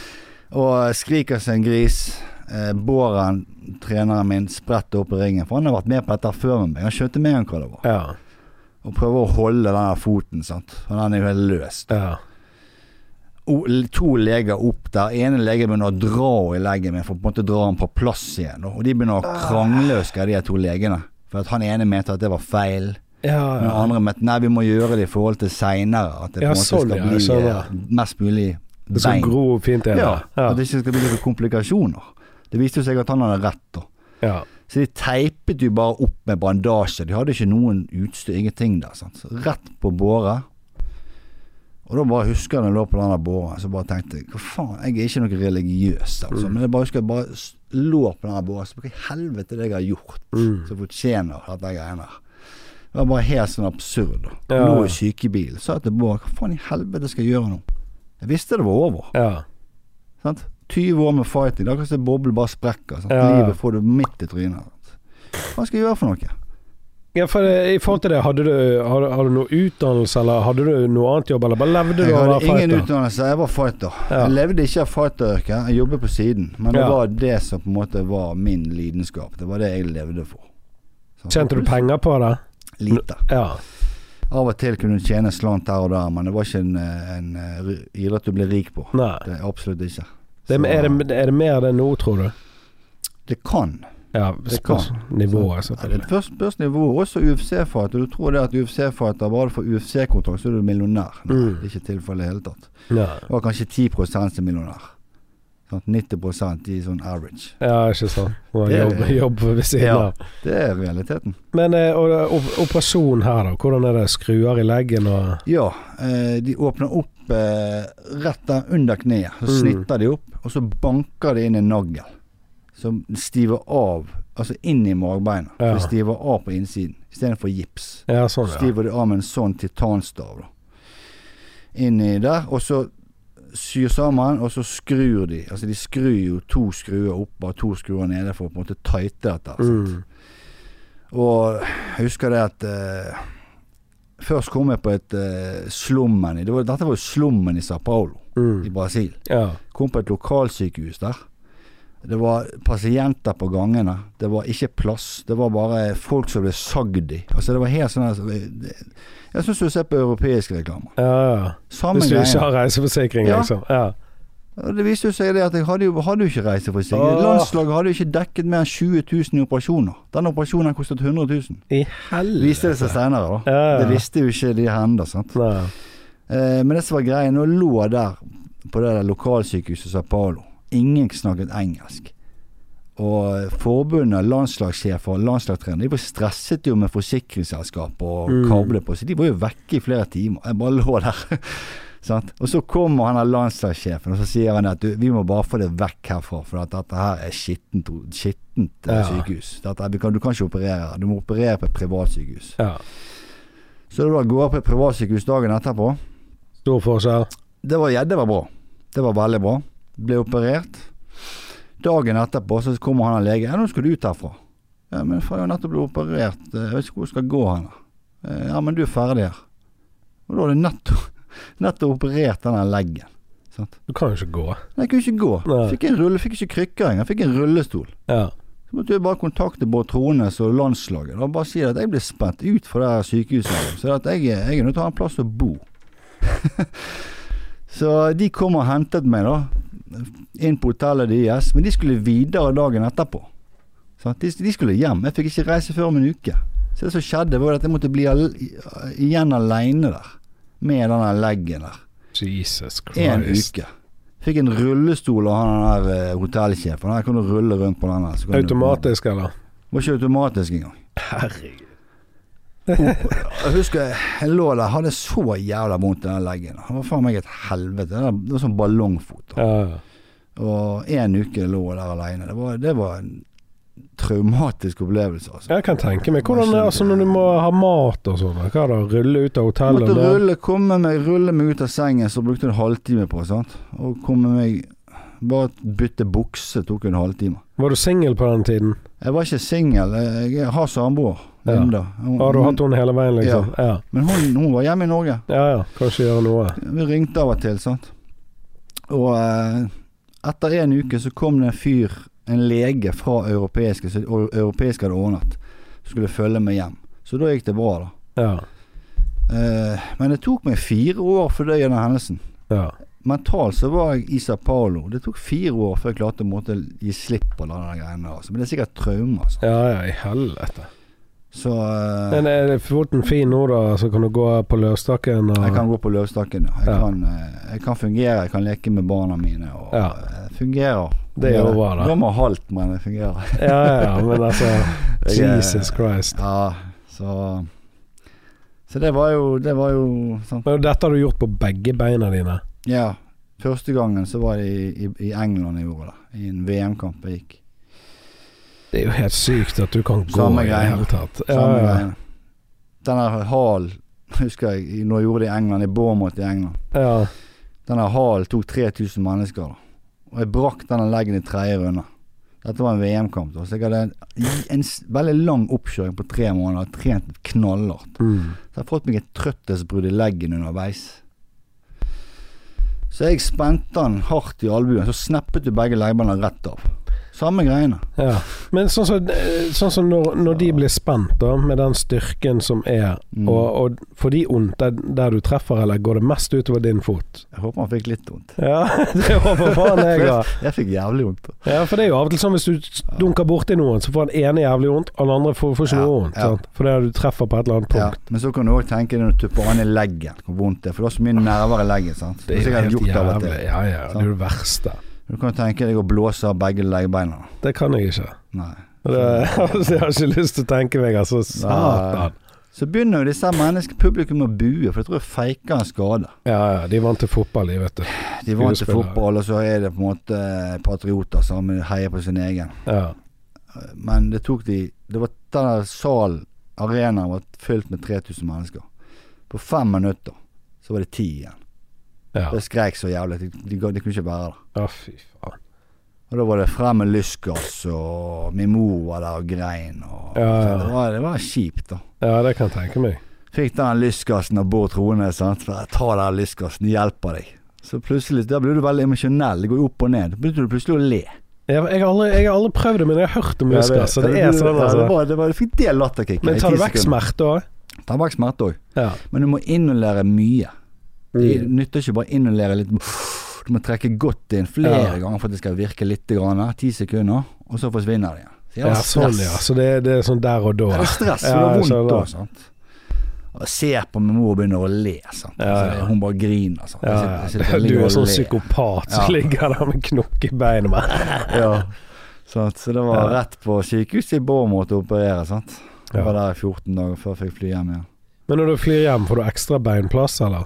Speaker 2: Og eh, skriker seg en gris. Eh, Båren, treneren min, spretter opp i ringen. For han har vært med på dette før med meg. Han skjønte med en hva det var.
Speaker 1: Ja.
Speaker 2: Og prøver å holde den der foten, sant. Og den er jo helt løs.
Speaker 1: ja.
Speaker 2: o- to leger opp der. ene legen begynner å dra henne i leggen min for å på en måte dra den på plass igjen. Og de begynner å
Speaker 1: Ah.
Speaker 2: krangle, husker jeg, de her to legene. For at han ene mente at det var feil.
Speaker 1: Ja,
Speaker 2: Men den andre mente nei, vi må gjøre det i forhold til seinere. At det på
Speaker 1: Ah. Ja,
Speaker 2: en måte
Speaker 1: sånn,
Speaker 2: skal
Speaker 1: ja,
Speaker 2: bli
Speaker 1: jeg skjønner.
Speaker 2: eh, mest mulig
Speaker 1: Det skal
Speaker 2: bein.
Speaker 1: gro fint igjen.
Speaker 2: Ja,
Speaker 1: Ja.
Speaker 2: At det ikke skal bli noen komplikasjoner. Det viste jo seg at han hadde rett. da.
Speaker 1: ja.
Speaker 2: Så de teipet jo bare opp med bandasje. De hadde ikke noen utstyr, ingenting der. Sant? Så rett på båre. Og da bare husker jeg når jeg lå på den der båren, så bare tenkte jeg hva faen, jeg er ikke noe religiøs, altså. Men jeg bare husker jeg bare s- lå på den der båren, så hva i helvete er det jeg har gjort som fortjener dette greiene her. Det var bare helt sånn absurd. da.
Speaker 1: Ja.
Speaker 2: Lå i sykebilen, sa til Bård hva faen i helvete skal jeg gjøre nå? Jeg visste det var over.
Speaker 1: ja.
Speaker 2: Sant? 20 år med fighting, da kan boblen bare sprekke. Sant?
Speaker 1: Ja.
Speaker 2: Livet får du midt i trynet. Sant? Hva skal jeg gjøre for noe?
Speaker 1: Ja, for eh, I forhold til det, hadde du, hadde, hadde du noe utdannelse, eller hadde du noe annet jobb, eller bare levde du
Speaker 2: Jeg
Speaker 1: av å
Speaker 2: hadde
Speaker 1: være
Speaker 2: ingen
Speaker 1: fighter?
Speaker 2: utdannelse, jeg var fighter.
Speaker 1: Ja.
Speaker 2: Jeg levde ikke av fighteryrket, jeg jobbet på siden. Men det
Speaker 1: Ja.
Speaker 2: var det som på en måte var min lidenskap. Det var det jeg levde for. Sant?
Speaker 1: Tjente du penger på det?
Speaker 2: Lite.
Speaker 1: Ja.
Speaker 2: Av og til kunne du tjene slant her og der, men det var ikke en, en, eh, idrett du ble rik på.
Speaker 1: Nei.
Speaker 2: Det er Absolutt ikke.
Speaker 1: Det,
Speaker 2: Så,
Speaker 1: er, det, er det mer det nå, tror du?
Speaker 2: det kan
Speaker 1: Ja,
Speaker 2: Det
Speaker 1: spørs nivået, altså.
Speaker 2: Ja,
Speaker 1: selvfølgelig.
Speaker 2: det spørs, spørs nivå. Også UFC-fighter. Du tror det at UFC-fighter, bare du får UFC-kontrakt, så er du millionær. Nei,
Speaker 1: Mm.
Speaker 2: Det er ikke tilfellet i det hele tatt.
Speaker 1: Ja.
Speaker 2: Det var kanskje 10 som millionær. Sånn, Sant? 90 i sånn average.
Speaker 1: ja, ikke sant. Må ha
Speaker 2: Det er-
Speaker 1: Jobb, jobb ved siden
Speaker 2: Ja.
Speaker 1: av.
Speaker 2: Det er realiteten.
Speaker 1: Men eh, og, og, operasjon her, da. Hvordan er det? Skruer i leggen og
Speaker 2: Ja, eh, de åpner opp eh, rett der under kneet. Så
Speaker 1: Mm.
Speaker 2: snitter de opp, og så banker de inn en nagel. Som stiver av, altså inn i magbeina.
Speaker 1: Ja.
Speaker 2: Så det stiver av på innsiden, istedenfor gips.
Speaker 1: Ja, sånn, ja.
Speaker 2: stiver de av med en sånn titanstav da. inni der, og så syr sammen, og så skrur de. Altså de skrur jo to skruer opp og to skruer nede for å på en måte tighte dette.
Speaker 1: Mm.
Speaker 2: Og jeg husker det at eh, Først kom jeg på et eh, slummen i det var, Dette var jo slummen i Sa Paulo i
Speaker 1: Mm.
Speaker 2: Brasil.
Speaker 1: Ja.
Speaker 2: Kom på et lokalsykehus der. Det var pasienter på gangene. Det var ikke plass. Det var bare folk som ble sagd i. Altså det var helt sånn her- Jeg syns du ser på europeiske reklamer.
Speaker 1: Ja, ja.
Speaker 2: Samme
Speaker 1: Hvis du ikke
Speaker 2: greie.
Speaker 1: har reiseforsikring,
Speaker 2: Ja.
Speaker 1: liksom. Ja.
Speaker 2: Og Det viste jo seg det at jeg hadde jo, hadde jo ikke reiseforsikring.
Speaker 1: Åh.
Speaker 2: Landslaget hadde jo ikke dekket mer enn 20 000 i operasjoner. Den operasjonen kostet 100 000.
Speaker 1: I
Speaker 2: Viste det
Speaker 1: helvete.
Speaker 2: seg senere, da.
Speaker 1: Ja, ja.
Speaker 2: Det visste jo ikke de her ennå, sant.
Speaker 1: Nei.
Speaker 2: Eh, Men det som var greia, nå lå jeg der på det der lokalsykehuset i Sao Paulo. Ingen snakket engelsk. Og forbundet, landslagssjefer og landslagstrenere de var stresset jo med forsikringsselskap og
Speaker 1: Mm.
Speaker 2: kabler på, så de var jo vekke i flere timer. Jeg bare lå der. Sant? Og så kommer han der landslagssjefen og så sier han at du, vi må bare få det vekk herfra, for at dette her er skittent, skittent eh,
Speaker 1: Ja.
Speaker 2: sykehus. Dette, vi kan, du kan ikke operere her. Du må operere på et privatsykehus.
Speaker 1: Ja.
Speaker 2: Så det var å gå på et privatsykehus dagen etterpå.
Speaker 1: Stor forskjell.
Speaker 2: Det var, ja, det var bra. Det var veldig bra. Ble operert. Dagen etterpå så kommer han og legen. Ja, 'Nå skal du ut herfra.' Ja, 'Men faen, jeg har nettopp blitt operert. Eh, Jeg vet ikke hvor jeg skal gå hen.' Eh, 'Ja, men du er ferdig her.' Og da har du nettopp, nettopp operert denne leggen. Sant?
Speaker 1: Du kan jo ikke gå.
Speaker 2: Men jeg kunne ikke gå.
Speaker 1: Nei.
Speaker 2: Fikk en rulle, fikk ikke krykker engang. Fikk en rullestol.
Speaker 1: Ja.
Speaker 2: Så måtte jeg bare kontakte Bård Trones og landslaget. Da bare si at jeg ble spent ut fra det her sykehuset. Så at jeg, jeg er nødt til å ha en plass å bo. så de kom og hentet meg da, inn på hotellet deres. Men de skulle videre dagen etterpå. Sant? de, de skulle hjem. Jeg fikk ikke reise før om en uke. Så det som skjedde, var at jeg måtte bli al igjen aleine der. Med denne leggen der.
Speaker 1: Jesus
Speaker 2: En
Speaker 1: Christ.
Speaker 2: uke. Fikk en rullestol av han der eh, hotellsjefen. Her kan du rulle rundt på den her. så kan du-
Speaker 1: Automatisk, eller?
Speaker 2: var ikke automatisk engang.
Speaker 1: Herregud.
Speaker 2: Jeg husker jeg lå der, hadde så jævla vondt i den leggen. Det var faen meg et helvete. Det var- Det var sånn ballongfot. da.
Speaker 1: Ja. ja.
Speaker 2: Og én uke lå jeg der aleine. Det, var- det var en traumatisk opplevelse, altså.
Speaker 1: Jeg kan tenke meg. Hvordan er det altså når du må ha mat og sånn? Hva da? Rulle ut av
Speaker 2: Jeg
Speaker 1: hotellet?
Speaker 2: måtte
Speaker 1: med-
Speaker 2: rulle, komme meg, rulle meg ut av sengen, så brukte jeg en halvtime på sant? Og komme meg Bare bytte bukse tok en halvtime.
Speaker 1: Var du singel på den tiden?
Speaker 2: Jeg var ikke singel. Jeg jeg har samboer,
Speaker 1: Ja.
Speaker 2: Linda. Hun-
Speaker 1: Har du
Speaker 2: hun-
Speaker 1: hatt henne hele veien, liksom? Ja.
Speaker 2: Men hun, hun var hjemme i Norge.
Speaker 1: Ja ja, kanskje gjøre noe.
Speaker 2: Vi ringte av og til, sant. Og eh, etter en uke så kom det en fyr, en lege fra europeiske, så og europeiske hadde ordnet, skulle følge meg hjem. Så da gikk det bra, da.
Speaker 1: Ja.
Speaker 2: Eh, men det tok meg fire år å fordøye den hendelsen.
Speaker 1: ja.
Speaker 2: Mentalt så var jeg i Sa Paulo. Det tok fire år før jeg klarte å måtte gi slipp på den greia der. Altså. Men det er sikkert traume, altså.
Speaker 1: Ja ja, i helvete.
Speaker 2: Så eh,
Speaker 1: Men er det foten fin nå, da? Så kan du gå på løstakken og
Speaker 2: Jeg kan gå på løvstakken. ja. Jeg,
Speaker 1: Ja.
Speaker 2: kan, eh, jeg kan fungere, jeg kan leke med barna mine. Og
Speaker 1: Ja.
Speaker 2: eh, fungerer.
Speaker 1: Det er jo bra, da.
Speaker 2: Går med halvt, men det fungerer.
Speaker 1: Ja ja, men altså
Speaker 2: Jeg er-
Speaker 1: Jesus Christ.
Speaker 2: Ja, så Så det var jo Det var jo sånn
Speaker 1: Men dette har du gjort på begge beina dine.
Speaker 2: Ja. Første gangen så var det i, i, i England jeg gjorde det. I en VM-kamp jeg gikk.
Speaker 1: Det er jo helt sykt at du kan gå
Speaker 2: Samme
Speaker 1: i det
Speaker 2: greie.
Speaker 1: hele tatt. Ja,
Speaker 2: Samme
Speaker 1: ja.
Speaker 2: greien. Sånn, eh, Den der halen husker jeg når jeg gjorde det i England, i Bournemouth i England.
Speaker 1: ja.
Speaker 2: Denne halen tok 3000 mennesker. da. Og jeg brakk denne leggen i tredje runde. Dette var en VM-kamp. da, Så jeg hadde en, en s- veldig lang oppkjøring på tre måneder. Trent knallhardt.
Speaker 1: Mm.
Speaker 2: Så jeg har fått meg et trøttesbrudd i leggen underveis. Så jeg spente han hardt i albuen, så snappet du begge leggbeina rett av. Samme greiene.
Speaker 1: Ja. Men sånn som, sånn som når, når de blir spent, da, med den styrken som er,
Speaker 2: Mm.
Speaker 1: og, og får de vondt der, der du treffer, eller går det mest utover din fot?
Speaker 2: Jeg håper han fikk litt vondt.
Speaker 1: Ja, det håper faen jeg òg.
Speaker 2: Jeg fikk jævlig vondt. da.
Speaker 1: Ja, for det er jo av og til sånn hvis du dunker borti noen, så får han ene jævlig vondt, og den andre får, får ikke
Speaker 2: Ja,
Speaker 1: noe vondt.
Speaker 2: ja.
Speaker 1: sant? For det er du treffer på et eller annet
Speaker 2: Ja,
Speaker 1: punkt.
Speaker 2: men så kan du òg tenke deg når du tupper an i leggen, hvor vondt det er. For det er så mye nerver i leggen. sant?
Speaker 1: Det er jo
Speaker 2: Så jeg hadde
Speaker 1: helt
Speaker 2: gjort av og til.
Speaker 1: jævlig. Ja, ja, det er jo det verste.
Speaker 2: Du kan tenke deg å blåse av begge leggbeina.
Speaker 1: Det kan jeg ikke.
Speaker 2: Nei.
Speaker 1: Og Det, jeg har ikke lyst til å tenke meg, altså. Satan.
Speaker 2: Så begynner jo disse menneskene, publikum, å bue, for jeg tror jeg feiker en skade.
Speaker 1: Ja, ja, de er vant til fotball, de, vet du.
Speaker 2: De er vant til
Speaker 1: Skuespillere.
Speaker 2: fotball, og så er det på en måte eh, patrioter som heier på sin egen.
Speaker 1: Ja.
Speaker 2: Men det tok de Det var denne salen, arenaen, var fylt med 3000 mennesker. På fem minutter så var det ti igjen.
Speaker 1: Ja,
Speaker 2: Det skreik så jævlig. De, de, ga- de kunne ikke være der.
Speaker 1: ja fy faen.
Speaker 2: Og da var det frem med lystgass, og min mor var der og grein. Og,
Speaker 1: Ja, ja.
Speaker 2: Det, var, det var kjipt, da.
Speaker 1: Ja, det kan jeg tenke meg.
Speaker 2: Fikk den lystgassen av Bård Troende. sant? Bare, Ta den lystgassen, hjelper deg. Så plutselig, da blir du veldig emosjonell. Det går jo opp og ned. Da begynte du plutselig å le.
Speaker 1: Jeg, jeg, har aldri, jeg har aldri prøvd det, men jeg har hørt om
Speaker 2: Ja,
Speaker 1: muskler, så det
Speaker 2: ja,
Speaker 1: er sånn,
Speaker 2: ja, det
Speaker 1: altså.
Speaker 2: var, det var, du fikk det latterkicket. i
Speaker 1: Men tar
Speaker 2: ti
Speaker 1: du vekk
Speaker 2: sekunder.
Speaker 1: smerte òg?
Speaker 2: Tar vekk smerte òg.
Speaker 1: Ja. Mm.
Speaker 2: Men du må inhalere mye. Det nytter ikke bare å inhalere litt. Du må trekke godt inn flere
Speaker 1: Ja.
Speaker 2: ganger for at det skal virke litt. Grann, ti sekunder, og så forsvinner det igjen. Så
Speaker 1: ja, sånn, ja. Så det, det er sånn der og
Speaker 2: Det
Speaker 1: da.
Speaker 2: er stress,
Speaker 1: Ja,
Speaker 2: og
Speaker 1: jeg
Speaker 2: det er vondt
Speaker 1: skjønner.
Speaker 2: òg, sant. Og jeg ser på min mor og begynner å le, sant.
Speaker 1: Ja, ja.
Speaker 2: Altså, Hun bare griner, sant. Jeg
Speaker 1: Ja,
Speaker 2: sitter- jeg sitter
Speaker 1: ja.
Speaker 2: og
Speaker 1: Du
Speaker 2: ligger
Speaker 1: er
Speaker 2: og
Speaker 1: sånn
Speaker 2: ler.
Speaker 1: psykopat som
Speaker 2: Ja.
Speaker 1: ligger der med knokk i beinet. bare.
Speaker 2: Ja. Sant, så det var
Speaker 1: Ja.
Speaker 2: rett på sykehuset i Båmot å operere, sant.
Speaker 1: Ja.
Speaker 2: Jeg var der i 14 dager før jeg fikk fly hjem igjen.
Speaker 1: Men når du flyr hjem, får du ekstra beinplass, eller?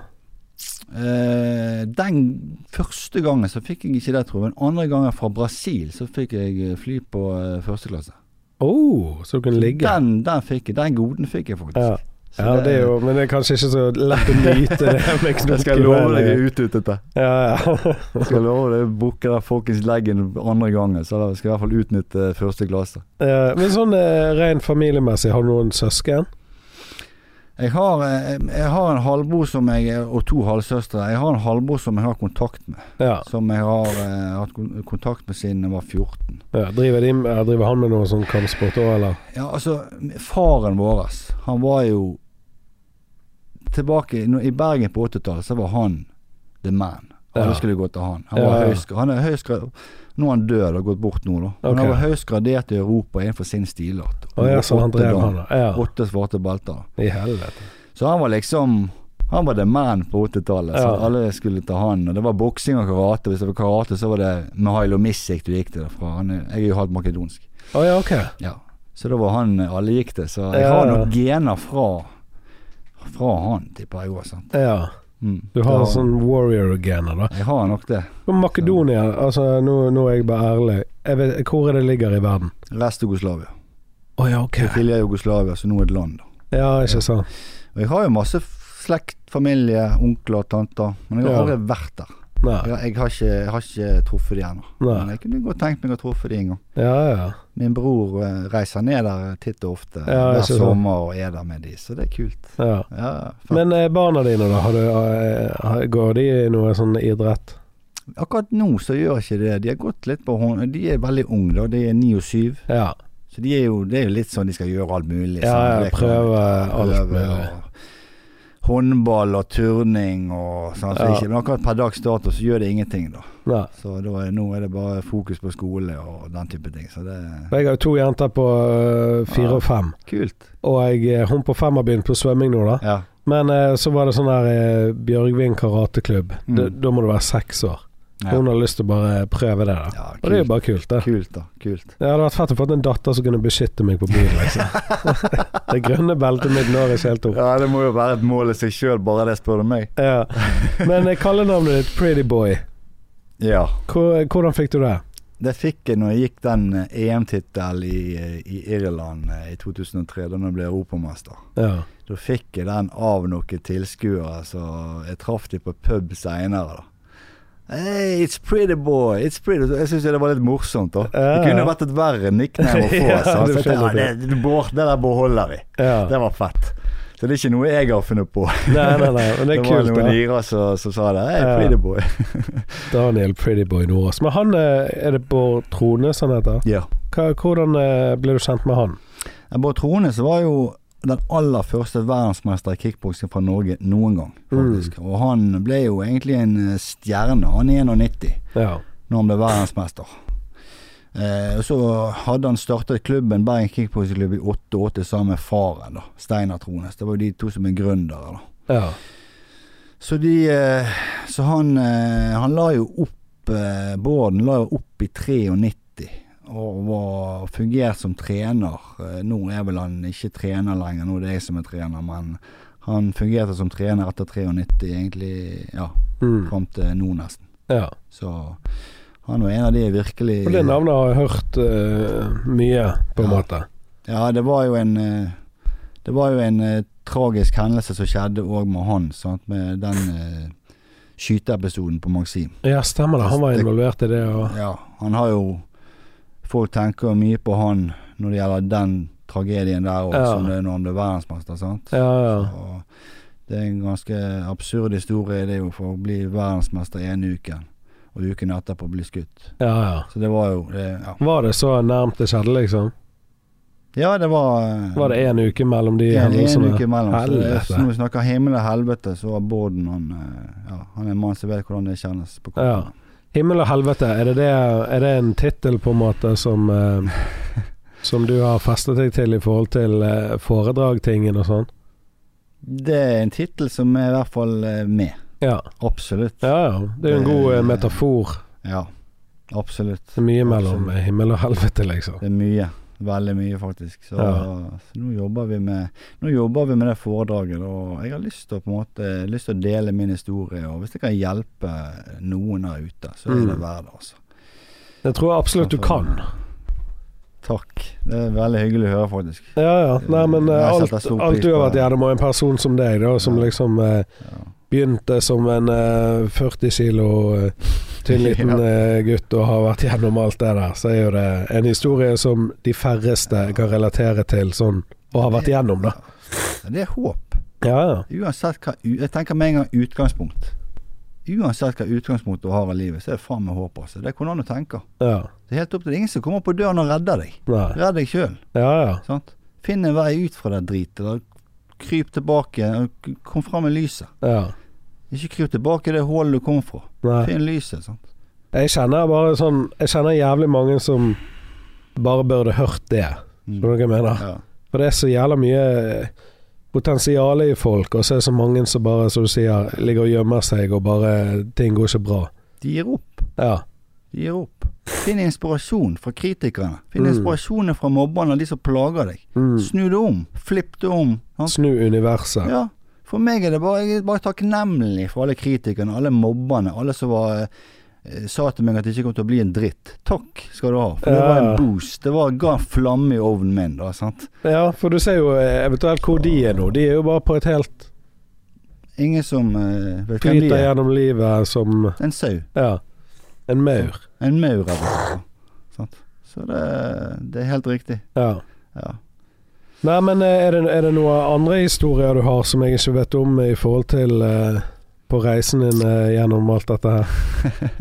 Speaker 2: Eh, den første gangen så fikk jeg ikke det, tror jeg. Men andre gangen fra Brasil så fikk jeg eh, fly på eh, første klasse.
Speaker 1: Oh, så du kan ligge.
Speaker 2: Den, den fikk jeg, den goden fikk jeg faktisk.
Speaker 1: Ja.
Speaker 2: Så
Speaker 1: Ja, det er jo, men det er kanskje ikke så lett å nyte det med knokk i
Speaker 2: Jeg skal love deg, jeg
Speaker 1: beinet.
Speaker 2: er ute etter dette.
Speaker 1: Ja, ja.
Speaker 2: Jeg skal love deg, jeg bukker der folkens leggen andre gangen, så da skal jeg i hvert fall utnytte første klasse.
Speaker 1: Ja, Men sånn eh, rent familiemessig, har du noen søsken?
Speaker 2: Jeg har, eh, jeg har en halvbror som jeg, og to halvsøstre. Jeg har en halvbror som jeg har kontakt med.
Speaker 1: Ja.
Speaker 2: Som jeg har eh, hatt kon- kontakt med siden jeg var 14.
Speaker 1: ja. Driver, de, ja, driver han med noe sånn kampsport òg, eller?
Speaker 2: Ja, altså, faren vår, han var jo Tilbake nå- i Bergen på 80-tallet, så var han the man.
Speaker 1: Ja.
Speaker 2: Alle skulle gå til han. Han,
Speaker 1: Ja,
Speaker 2: var
Speaker 1: ja.
Speaker 2: høysk, han er høyst Nå er han død og gått bort nå, da. Men
Speaker 1: Ok.
Speaker 2: han var høyst gradert i Europa innenfor sin stilart.
Speaker 1: Å ja, så han
Speaker 2: Åtte
Speaker 1: drev
Speaker 2: dam-
Speaker 1: han, da. ja.
Speaker 2: Åtte svarte belter.
Speaker 1: I helvete.
Speaker 2: Så han var liksom han var the man på 80-tallet. så
Speaker 1: Ja.
Speaker 2: Alle skulle ta han. Og det var boksing og karate. Hvis det var karate, så var det Mihailo Misic du gikk til derfra. Han er, jeg er jo halvt makedonsk.
Speaker 1: Å ja, ok.
Speaker 2: Ja, så da var han alle gikk det. Så jeg
Speaker 1: Ja,
Speaker 2: har
Speaker 1: ja.
Speaker 2: nok gener fra Fra han, tipper jeg òg. sant?
Speaker 1: Ja.
Speaker 2: Mm.
Speaker 1: Du
Speaker 2: Ja,
Speaker 1: har sånn warrior-gener, da.
Speaker 2: Jeg har nok det.
Speaker 1: Og Makedonia, altså nå, nå er jeg bare ærlig. Jeg vet, hvor er det ligger i verden?
Speaker 2: Rest Jugoslavia.
Speaker 1: Å ja, ok.
Speaker 2: Tidligere Jugoslavia, så nå et land. da.
Speaker 1: Ja, ikke sant.
Speaker 2: Og jeg har jo masse slekt, familie, onkler, tanter. Men jeg har
Speaker 1: Ja.
Speaker 2: aldri vært der.
Speaker 1: Nei.
Speaker 2: Jeg, jeg, har, ikke, jeg har ikke truffet de ennå.
Speaker 1: Nei.
Speaker 2: Men jeg kunne godt tenkt meg å truffe de en gang.
Speaker 1: Ja, ja.
Speaker 2: Min bror eh, reiser ned der titt og ofte
Speaker 1: Ja, jeg
Speaker 2: hver
Speaker 1: ser det.
Speaker 2: sommer og er der med de, så det er kult.
Speaker 1: ja.
Speaker 2: Ja, fett.
Speaker 1: Men eh, barna dine, da? Har du, eh, har- går de i noe sånn idrett?
Speaker 2: Akkurat nå så gjør ikke det. De har gått litt på hånd. De er veldig unge, da. De er ni og syv.
Speaker 1: Ja.
Speaker 2: Så de er jo, det er jo litt sånn de skal gjøre alt mulig.
Speaker 1: Ja,
Speaker 2: sånn,
Speaker 1: ja,
Speaker 2: leker
Speaker 1: prøve
Speaker 2: litt,
Speaker 1: alt
Speaker 2: prøve
Speaker 1: mulig.
Speaker 2: og Håndball og turning og sånn. Så
Speaker 1: Ja.
Speaker 2: ikke, men akkurat per dags dato så gjør det ingenting, da.
Speaker 1: Nei.
Speaker 2: Så da er, nå er det bare fokus på skole og den type ting. Så det er
Speaker 1: Jeg har jo to jenter på eh, fire
Speaker 2: Ja.
Speaker 1: og fem.
Speaker 2: kult.
Speaker 1: Og jeg, eh, hun på fem har begynt på svømming nå, da.
Speaker 2: Ja.
Speaker 1: Men eh, så var det sånn der eh, Bjørgvin karateklubb.
Speaker 2: Mm.
Speaker 1: Da- Da må du være seks år.
Speaker 2: Ja.
Speaker 1: Hun har lyst til å bare prøve det, da.
Speaker 2: ja
Speaker 1: Og det er jo
Speaker 2: kult,
Speaker 1: bare kult, det.
Speaker 2: kult, da. Kult.
Speaker 1: Det hadde vært fett å få en datter som kunne beskytte meg på byen, liksom. det grønne beltet mitt når jeg helt opp.
Speaker 2: Ja, det må jo være et mål i seg sjøl, bare det spør du meg.
Speaker 1: Ja. Men eh, kallenavnet ditt, Pretty Boy,
Speaker 2: Ja.
Speaker 1: Hvor, eh, hvordan fikk du det?
Speaker 2: Det fikk jeg når jeg gikk den eh, EM-tittelen i, eh, i Irland eh, i 2003, da jeg ble europamester.
Speaker 1: Ja.
Speaker 2: Da fikk jeg den av noen tilskuere, så jeg traff de på pub seinere, da. Hey, it's pretty boy, it's pretty Jeg syns det var litt morsomt, da.
Speaker 1: Ja.
Speaker 2: Det kunne vært et verre nickname å få. altså.
Speaker 1: Ja,
Speaker 2: så
Speaker 1: du
Speaker 2: jeg tenkte,
Speaker 1: skjønner
Speaker 2: ja, det, du bor- det der beholder vi.
Speaker 1: ja.
Speaker 2: Det var fett. Så det er ikke noe jeg har funnet på.
Speaker 1: Nei, nei, nei, men det er
Speaker 2: var
Speaker 1: kult,
Speaker 2: noen
Speaker 1: da.
Speaker 2: irer som som sa det. Hey,
Speaker 1: Ja.
Speaker 2: pretty boy.
Speaker 1: Daniel Pretty Boy Nordås. Men han eh, er det Bård Trones han heter?
Speaker 2: Ja.
Speaker 1: Hva, hvordan eh, ble du kjent med han?
Speaker 2: Bård Trones var jo den aller første verdensmester i kickboksing fra Norge noen gang, faktisk. Og han ble jo egentlig en eh, stjerne. Han er 91.
Speaker 1: Ja.
Speaker 2: når han ble verdensmester. Eh, og så hadde han startet klubben, Bergen Kickboxingklubb, i 88 sammen med faren, da, Steinar Trones. Det var jo de to som er gründere, da.
Speaker 1: ja.
Speaker 2: Så de eh, Så han, eh, han la jo opp eh, Bården la jo opp i 93, og var fungert som trener. Eh, nå er vel han ikke trener lenger, nå er det jeg som er trener, men han fungerte som trener etter 93, egentlig, ja,
Speaker 1: Mm.
Speaker 2: fram til nå, nesten.
Speaker 1: ja.
Speaker 2: Så han var en av de jeg virkelig
Speaker 1: Og det navnet har jeg hørt eh, mye, på en
Speaker 2: Ja.
Speaker 1: måte.
Speaker 2: Ja, det var jo en eh, Det var jo en eh, tragisk hendelse som skjedde òg med han, sant? med den eh, skyteepisoden på Maxim.
Speaker 1: Ja, stemmer det. Han var involvert i det. Og...
Speaker 2: Ja, han har jo Folk tenker jo mye på han når det gjelder den tragedien der òg,
Speaker 1: Ja.
Speaker 2: som det er når han ble verdensmester. sant?
Speaker 1: Ja, ja.
Speaker 2: Og det er en ganske absurd historie, det er jo for å bli verdensmester ene uken, og uken etterpå bli skutt.
Speaker 1: ja, ja.
Speaker 2: Så det var jo det, ja.
Speaker 1: Var det så nærmt det skjedde, liksom?
Speaker 2: ja, det var eh,
Speaker 1: Var det én uke mellom de
Speaker 2: en, en
Speaker 1: hendelsene?
Speaker 2: uke imellom. Så det,
Speaker 1: Helvete.
Speaker 2: så når vi snakker himmel og helvete, så var Bården han eh, ja, Han er en mann som vet hvordan det kjennes på
Speaker 1: Ja.
Speaker 2: kroppen.
Speaker 1: Himmel og helvete, er det, det, er det en tittel på en måte som eh, Som du har festet deg til i forhold til eh, foredragtingen og sånn?
Speaker 2: Det er en tittel som er i hvert fall eh, med.
Speaker 1: Ja.
Speaker 2: Absolutt.
Speaker 1: ja ja. Det er jo en god eh, metafor.
Speaker 2: Ja, absolutt.
Speaker 1: Det er mye mellom eh, himmel og helvete, liksom.
Speaker 2: Det er mye. Veldig mye, faktisk. Så,
Speaker 1: Ja.
Speaker 2: så nå, jobber vi med, nå jobber vi med det foredraget. Og jeg har lyst til å på en måte lyst til å dele min historie. Og hvis det kan hjelpe noen der ute, så er det
Speaker 1: Mm.
Speaker 2: verdt det, altså.
Speaker 1: Jeg tror absolutt du kan.
Speaker 2: Takk. Det er veldig hyggelig å høre, faktisk.
Speaker 1: Ja ja. Nei, men eh,
Speaker 2: Jeg
Speaker 1: alt,
Speaker 2: setter stor pris
Speaker 1: alt du har
Speaker 2: på
Speaker 1: vært
Speaker 2: det.
Speaker 1: gjennom, og en person som deg, da, som
Speaker 2: Ja.
Speaker 1: liksom eh,
Speaker 2: Ja.
Speaker 1: begynte som en eh, 40 kilo eh, tynn liten
Speaker 2: Ja.
Speaker 1: eh, gutt og har vært gjennom alt det der, så er jo det en historie som de færreste kan relatere til sånn, og har vært gjennom, da.
Speaker 2: Det er håp.
Speaker 1: Ja, ja.
Speaker 2: Uansett hva u- Jeg tenker med en gang utgangspunkt. Uansett hva utgangspunkt du har i livet, så er det faen meg håp, altså. Det er hvordan du tenker.
Speaker 1: Ja.
Speaker 2: Det er helt opp til deg. Ingen som kommer på døren og redder deg.
Speaker 1: Nei.
Speaker 2: Redd deg sjøl,
Speaker 1: Ja, ja.
Speaker 2: sant. Finn en vei ut fra det dritet. da. Kryp tilbake. og k- Kom fram med lyset.
Speaker 1: ja.
Speaker 2: Ikke kryp tilbake i det hullet du kom fra.
Speaker 1: Nei.
Speaker 2: Finn lyset, sant.
Speaker 1: Jeg kjenner bare sånn Jeg kjenner jævlig mange som bare burde hørt det.
Speaker 2: Mm.
Speaker 1: Skjønner du hva jeg mener?
Speaker 2: Ja.
Speaker 1: For det er så jævla mye potensial i folk, og så er det så mange som bare, som du sier, ligger og gjemmer seg, og bare Ting går ikke bra.
Speaker 2: De gir opp.
Speaker 1: Ja.
Speaker 2: De gir opp. Finn inspirasjon fra kritikerne. Finn
Speaker 1: Mm.
Speaker 2: inspirasjonen fra mobberne og de som plager deg.
Speaker 1: Mm.
Speaker 2: Snu det om. Flipp det om. Sant?
Speaker 1: Snu universet.
Speaker 2: Ja, for meg er det bare, jeg er bare takknemlig for alle kritikerne, alle mobberne, alle som var eh, sa til meg at det ikke kom til å bli en dritt. Takk skal du ha. For det
Speaker 1: Ja.
Speaker 2: var en boost. Det var, ga en flamme i ovnen min, da. sant?
Speaker 1: Ja, for du ser jo eh, eventuelt hvor de er nå. De er jo bare på et helt
Speaker 2: Ingen som eh, vet hvem de
Speaker 1: flyter
Speaker 2: er.
Speaker 1: gjennom livet som
Speaker 2: En sau.
Speaker 1: Ja, en maur.
Speaker 2: En maur. eller noe, Sant? Så det, det er helt riktig.
Speaker 1: Ja.
Speaker 2: Ja.
Speaker 1: Nei, men eh, er det, er det noen andre historier du har som jeg ikke vet om i forhold til eh, på reisen din eh, gjennom alt dette her?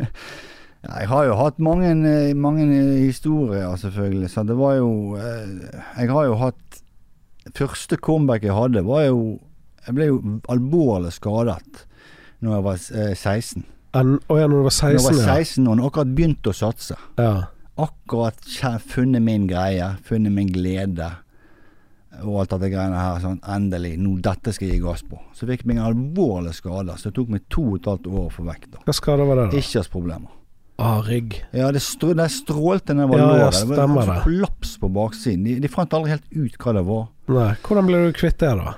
Speaker 2: Ja, Jeg har jo hatt mange, eh, mange historier, selvfølgelig. Så det var jo eh, Jeg har jo hatt Første comeback jeg hadde, var jo Jeg ble jo alvorlig skadet Når jeg var eh, 16.
Speaker 1: Enn- Å ja, når du var
Speaker 2: Når jeg
Speaker 1: 16,
Speaker 2: var
Speaker 1: ja.
Speaker 2: 16 og akkurat begynte å satse.
Speaker 1: ja.
Speaker 2: Akkurat kje- funnet min greie, funnet min glede og alt dette greiene her. Sånn, endelig, nå dette skal jeg gi gass på. Så fikk jeg meg en alvorlig skade, så det tok meg to og et halvt år å få vekk. da.
Speaker 1: Hva skada var det, da?
Speaker 2: Ischiasproblemer.
Speaker 1: Ah, rygg.
Speaker 2: Ja, det, strå, det strålte nedover
Speaker 1: Ja, ja,
Speaker 2: låret. det
Speaker 1: stemmer
Speaker 2: var en
Speaker 1: det.
Speaker 2: kollaps på baksiden. De, de fant aldri helt ut hva det var.
Speaker 1: Nei. Hvordan ble du kvitt det, da?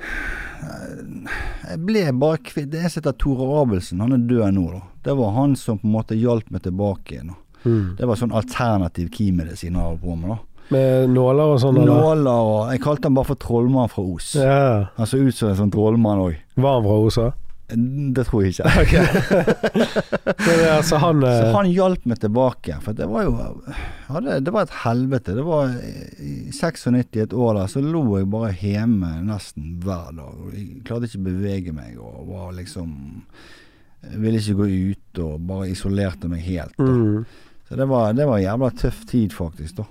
Speaker 2: Jeg ble bare kvitt Det er en som heter Tore Abelsen. Han er død nå, da. Det var han som på en måte hjalp meg tilbake igjen. da.
Speaker 1: Mm.
Speaker 2: Det var sånn alternativ kimedisin han holdt på med, da.
Speaker 1: Med nåler og sånn, eller?
Speaker 2: Nåler og Jeg kalte han bare for Trollmann fra Os.
Speaker 1: Ja.
Speaker 2: Han så ut som en sånn trollmann òg.
Speaker 1: Var han fra Osa?
Speaker 2: Det tror jeg ikke.
Speaker 1: Ok. så det er altså han, eh,
Speaker 2: Så han hjalp meg tilbake, for det var jo ja, det, det var et helvete. Det var i 96, et år der, så lå jeg bare hjemme nesten hver dag. og Jeg klarte ikke å bevege meg og var liksom jeg Ville ikke gå ut og bare isolerte meg helt. Da.
Speaker 1: mm.
Speaker 2: Så det var, det var en jævla tøff tid, faktisk, da.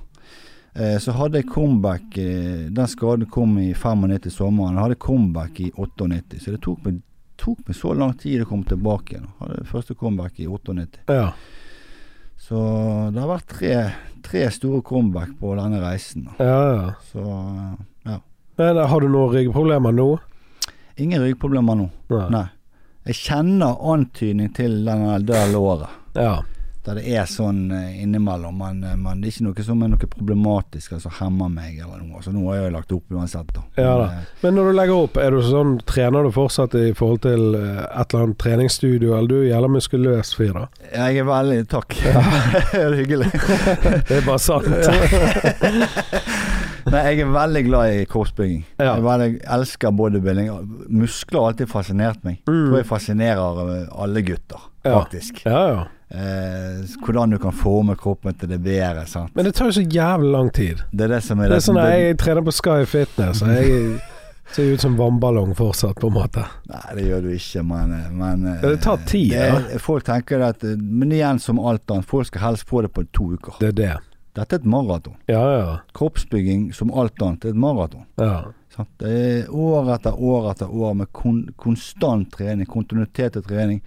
Speaker 2: Eh, så hadde jeg comeback eh, Den skaden kom i 95 sommeren. Jeg hadde comeback i 98, så det tok meg, tok meg så lang tid å komme tilbake igjen. Hadde første comeback i 98.
Speaker 1: ja.
Speaker 2: Så det har vært tre, tre store comeback på denne reisen. Da.
Speaker 1: Ja, ja.
Speaker 2: Så eh, ja.
Speaker 1: Men har du noen ryggproblemer nå?
Speaker 2: Ingen ryggproblemer nå. Nei. Jeg kjenner antydning til denne der låret.
Speaker 1: Ja.
Speaker 2: Der det er sånn eh, innimellom. Men, eh, men det er ikke noe som er noe problematisk altså, hemmer meg eller noe. Så nå har jeg lagt opp uansett, da.
Speaker 1: Ja da.
Speaker 2: Men, eh,
Speaker 1: Men når du legger opp, er du sånn, trener du fortsatt i forhold til eh, et eller annet treningsstudio, eller du er jævla muskuløs fyr, da?
Speaker 2: Jeg er veldig Takk. det er hyggelig.
Speaker 1: Det er bare sånn. sant.
Speaker 2: Nei, jeg er veldig glad i kroppsbygging.
Speaker 1: Ja.
Speaker 2: Jeg er veldig, elsker bodybuilding. Muskler har alltid fascinert meg. Jeg
Speaker 1: Mm.
Speaker 2: tror jeg fascinerer eh, alle gutter.
Speaker 1: Ja.
Speaker 2: faktisk.
Speaker 1: Ja, ja.
Speaker 2: Eh, hvordan du kan forme kroppen til det bedre. Sant?
Speaker 1: Men det tar jo så jævlig lang tid.
Speaker 2: Det er det som er
Speaker 1: Det er sånn at
Speaker 2: det,
Speaker 1: jeg trener på Sky Fitness, og jeg ser ut som vannballong fortsatt, på en måte.
Speaker 2: Nei, det gjør du ikke, men, men eh,
Speaker 1: Det tar tid,
Speaker 2: det er- Folk tenker at eh, Men igjen, som alt annet, folk skal helst få det på to uker.
Speaker 1: Det er det.
Speaker 2: Dette er et maraton.
Speaker 1: Ja, ja.
Speaker 2: Kroppsbygging som alt annet er et maraton.
Speaker 1: ja.
Speaker 2: Sant? Det er år etter år etter år med kon konstant trening, kontinuitet i trening.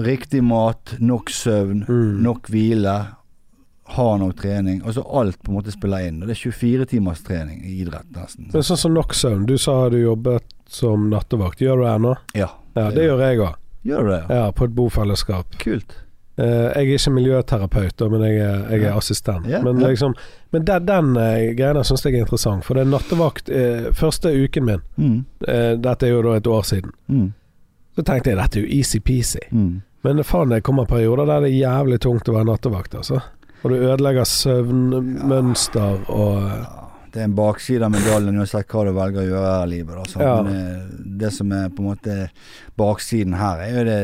Speaker 2: Riktig mat, nok søvn,
Speaker 1: Mm.
Speaker 2: nok hvile, ha nok trening. Altså alt på en måte spiller inn. Og det er 24 timers trening i idrett, nesten.
Speaker 1: Men sånn som nok søvn. Du sa du jobbet som nattevakt. Gjør du det ennå?
Speaker 2: Ja.
Speaker 1: Ja, det gjør jeg òg.
Speaker 2: Gjør du det? Ja.
Speaker 1: Ja, på et bofellesskap.
Speaker 2: Kult.
Speaker 1: Eh, jeg er ikke miljøterapeut, da, men jeg er, jeg er assistent.
Speaker 2: Ja,
Speaker 1: men
Speaker 2: ja.
Speaker 1: liksom, men den, den eh, greia der syns jeg er interessant. For det er nattevakt eh, første uken min.
Speaker 2: Mm.
Speaker 1: eh, dette er jo da et år siden.
Speaker 2: Mm.
Speaker 1: Så tenkte jeg dette er jo easy-peasy.
Speaker 2: Mm.
Speaker 1: Men faen, det kommer perioder der det er jævlig tungt å være nattevakt, altså. Og du ødelegger søvnmønster og eh,
Speaker 2: Ja, det er en bakside av medaljen uansett hva du velger å gjøre her i livet. Da, sant?
Speaker 1: Ja.
Speaker 2: Men eh, det som er på en måte baksiden her, er jo det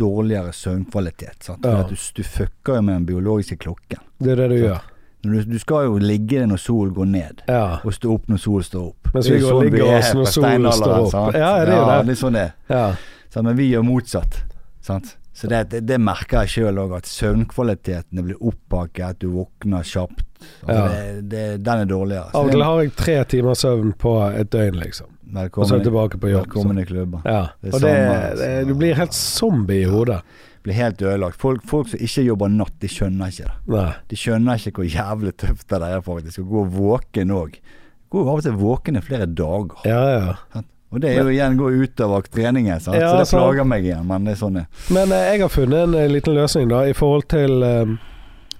Speaker 2: dårligere søvnkvalitet. Sant?
Speaker 1: Ja.
Speaker 2: For at du, du fucker jo med den biologiske klokken.
Speaker 1: Det er det du gjør.
Speaker 2: Når Du, du skal jo ligge når solen går ned,
Speaker 1: Ja.
Speaker 2: og stå opp når solen står opp.
Speaker 1: Mens
Speaker 2: Det er
Speaker 1: vi
Speaker 2: jo
Speaker 1: går og
Speaker 2: sånn vi
Speaker 1: ligger
Speaker 2: er
Speaker 1: oss når
Speaker 2: på
Speaker 1: solen
Speaker 2: steinalderen,
Speaker 1: står opp.
Speaker 2: sant?
Speaker 1: Ja, det er jo det.
Speaker 2: er sånn det er.
Speaker 1: ja.
Speaker 2: Sant? Men vi gjør motsatt. Sant? Så det, det, det merker jeg sjøl òg, at søvnkvalitetene blir oppakket, du våkner kjapt. Altså,
Speaker 1: Ja.
Speaker 2: det, det, den er dårligere. Så
Speaker 1: Av og
Speaker 2: det-
Speaker 1: til har jeg tre timer søvn på et døgn, liksom. Og så er
Speaker 2: Velkommen,
Speaker 1: jeg tilbake på jobb. Så.
Speaker 2: velkommen i klubben.
Speaker 1: Ja.
Speaker 2: Det er
Speaker 1: Og det,
Speaker 2: samme,
Speaker 1: det,
Speaker 2: altså.
Speaker 1: du blir helt zombie i hodet.
Speaker 2: Blir helt ødelagt. Folk, folk som ikke jobber natt, de skjønner ikke det.
Speaker 1: Nei.
Speaker 2: De skjønner ikke hvor jævlig tøft det er faktisk å gå våken òg. Gå av og til våken i flere dager.
Speaker 1: Ja, ja.
Speaker 2: Sant? Og det er jo igjen gå utover treningen, sant?
Speaker 1: Ja,
Speaker 2: så det
Speaker 1: sant.
Speaker 2: plager meg igjen. Men det er sånn det er.
Speaker 1: Men eh, jeg har funnet en eh, liten løsning, da, i forhold til eh,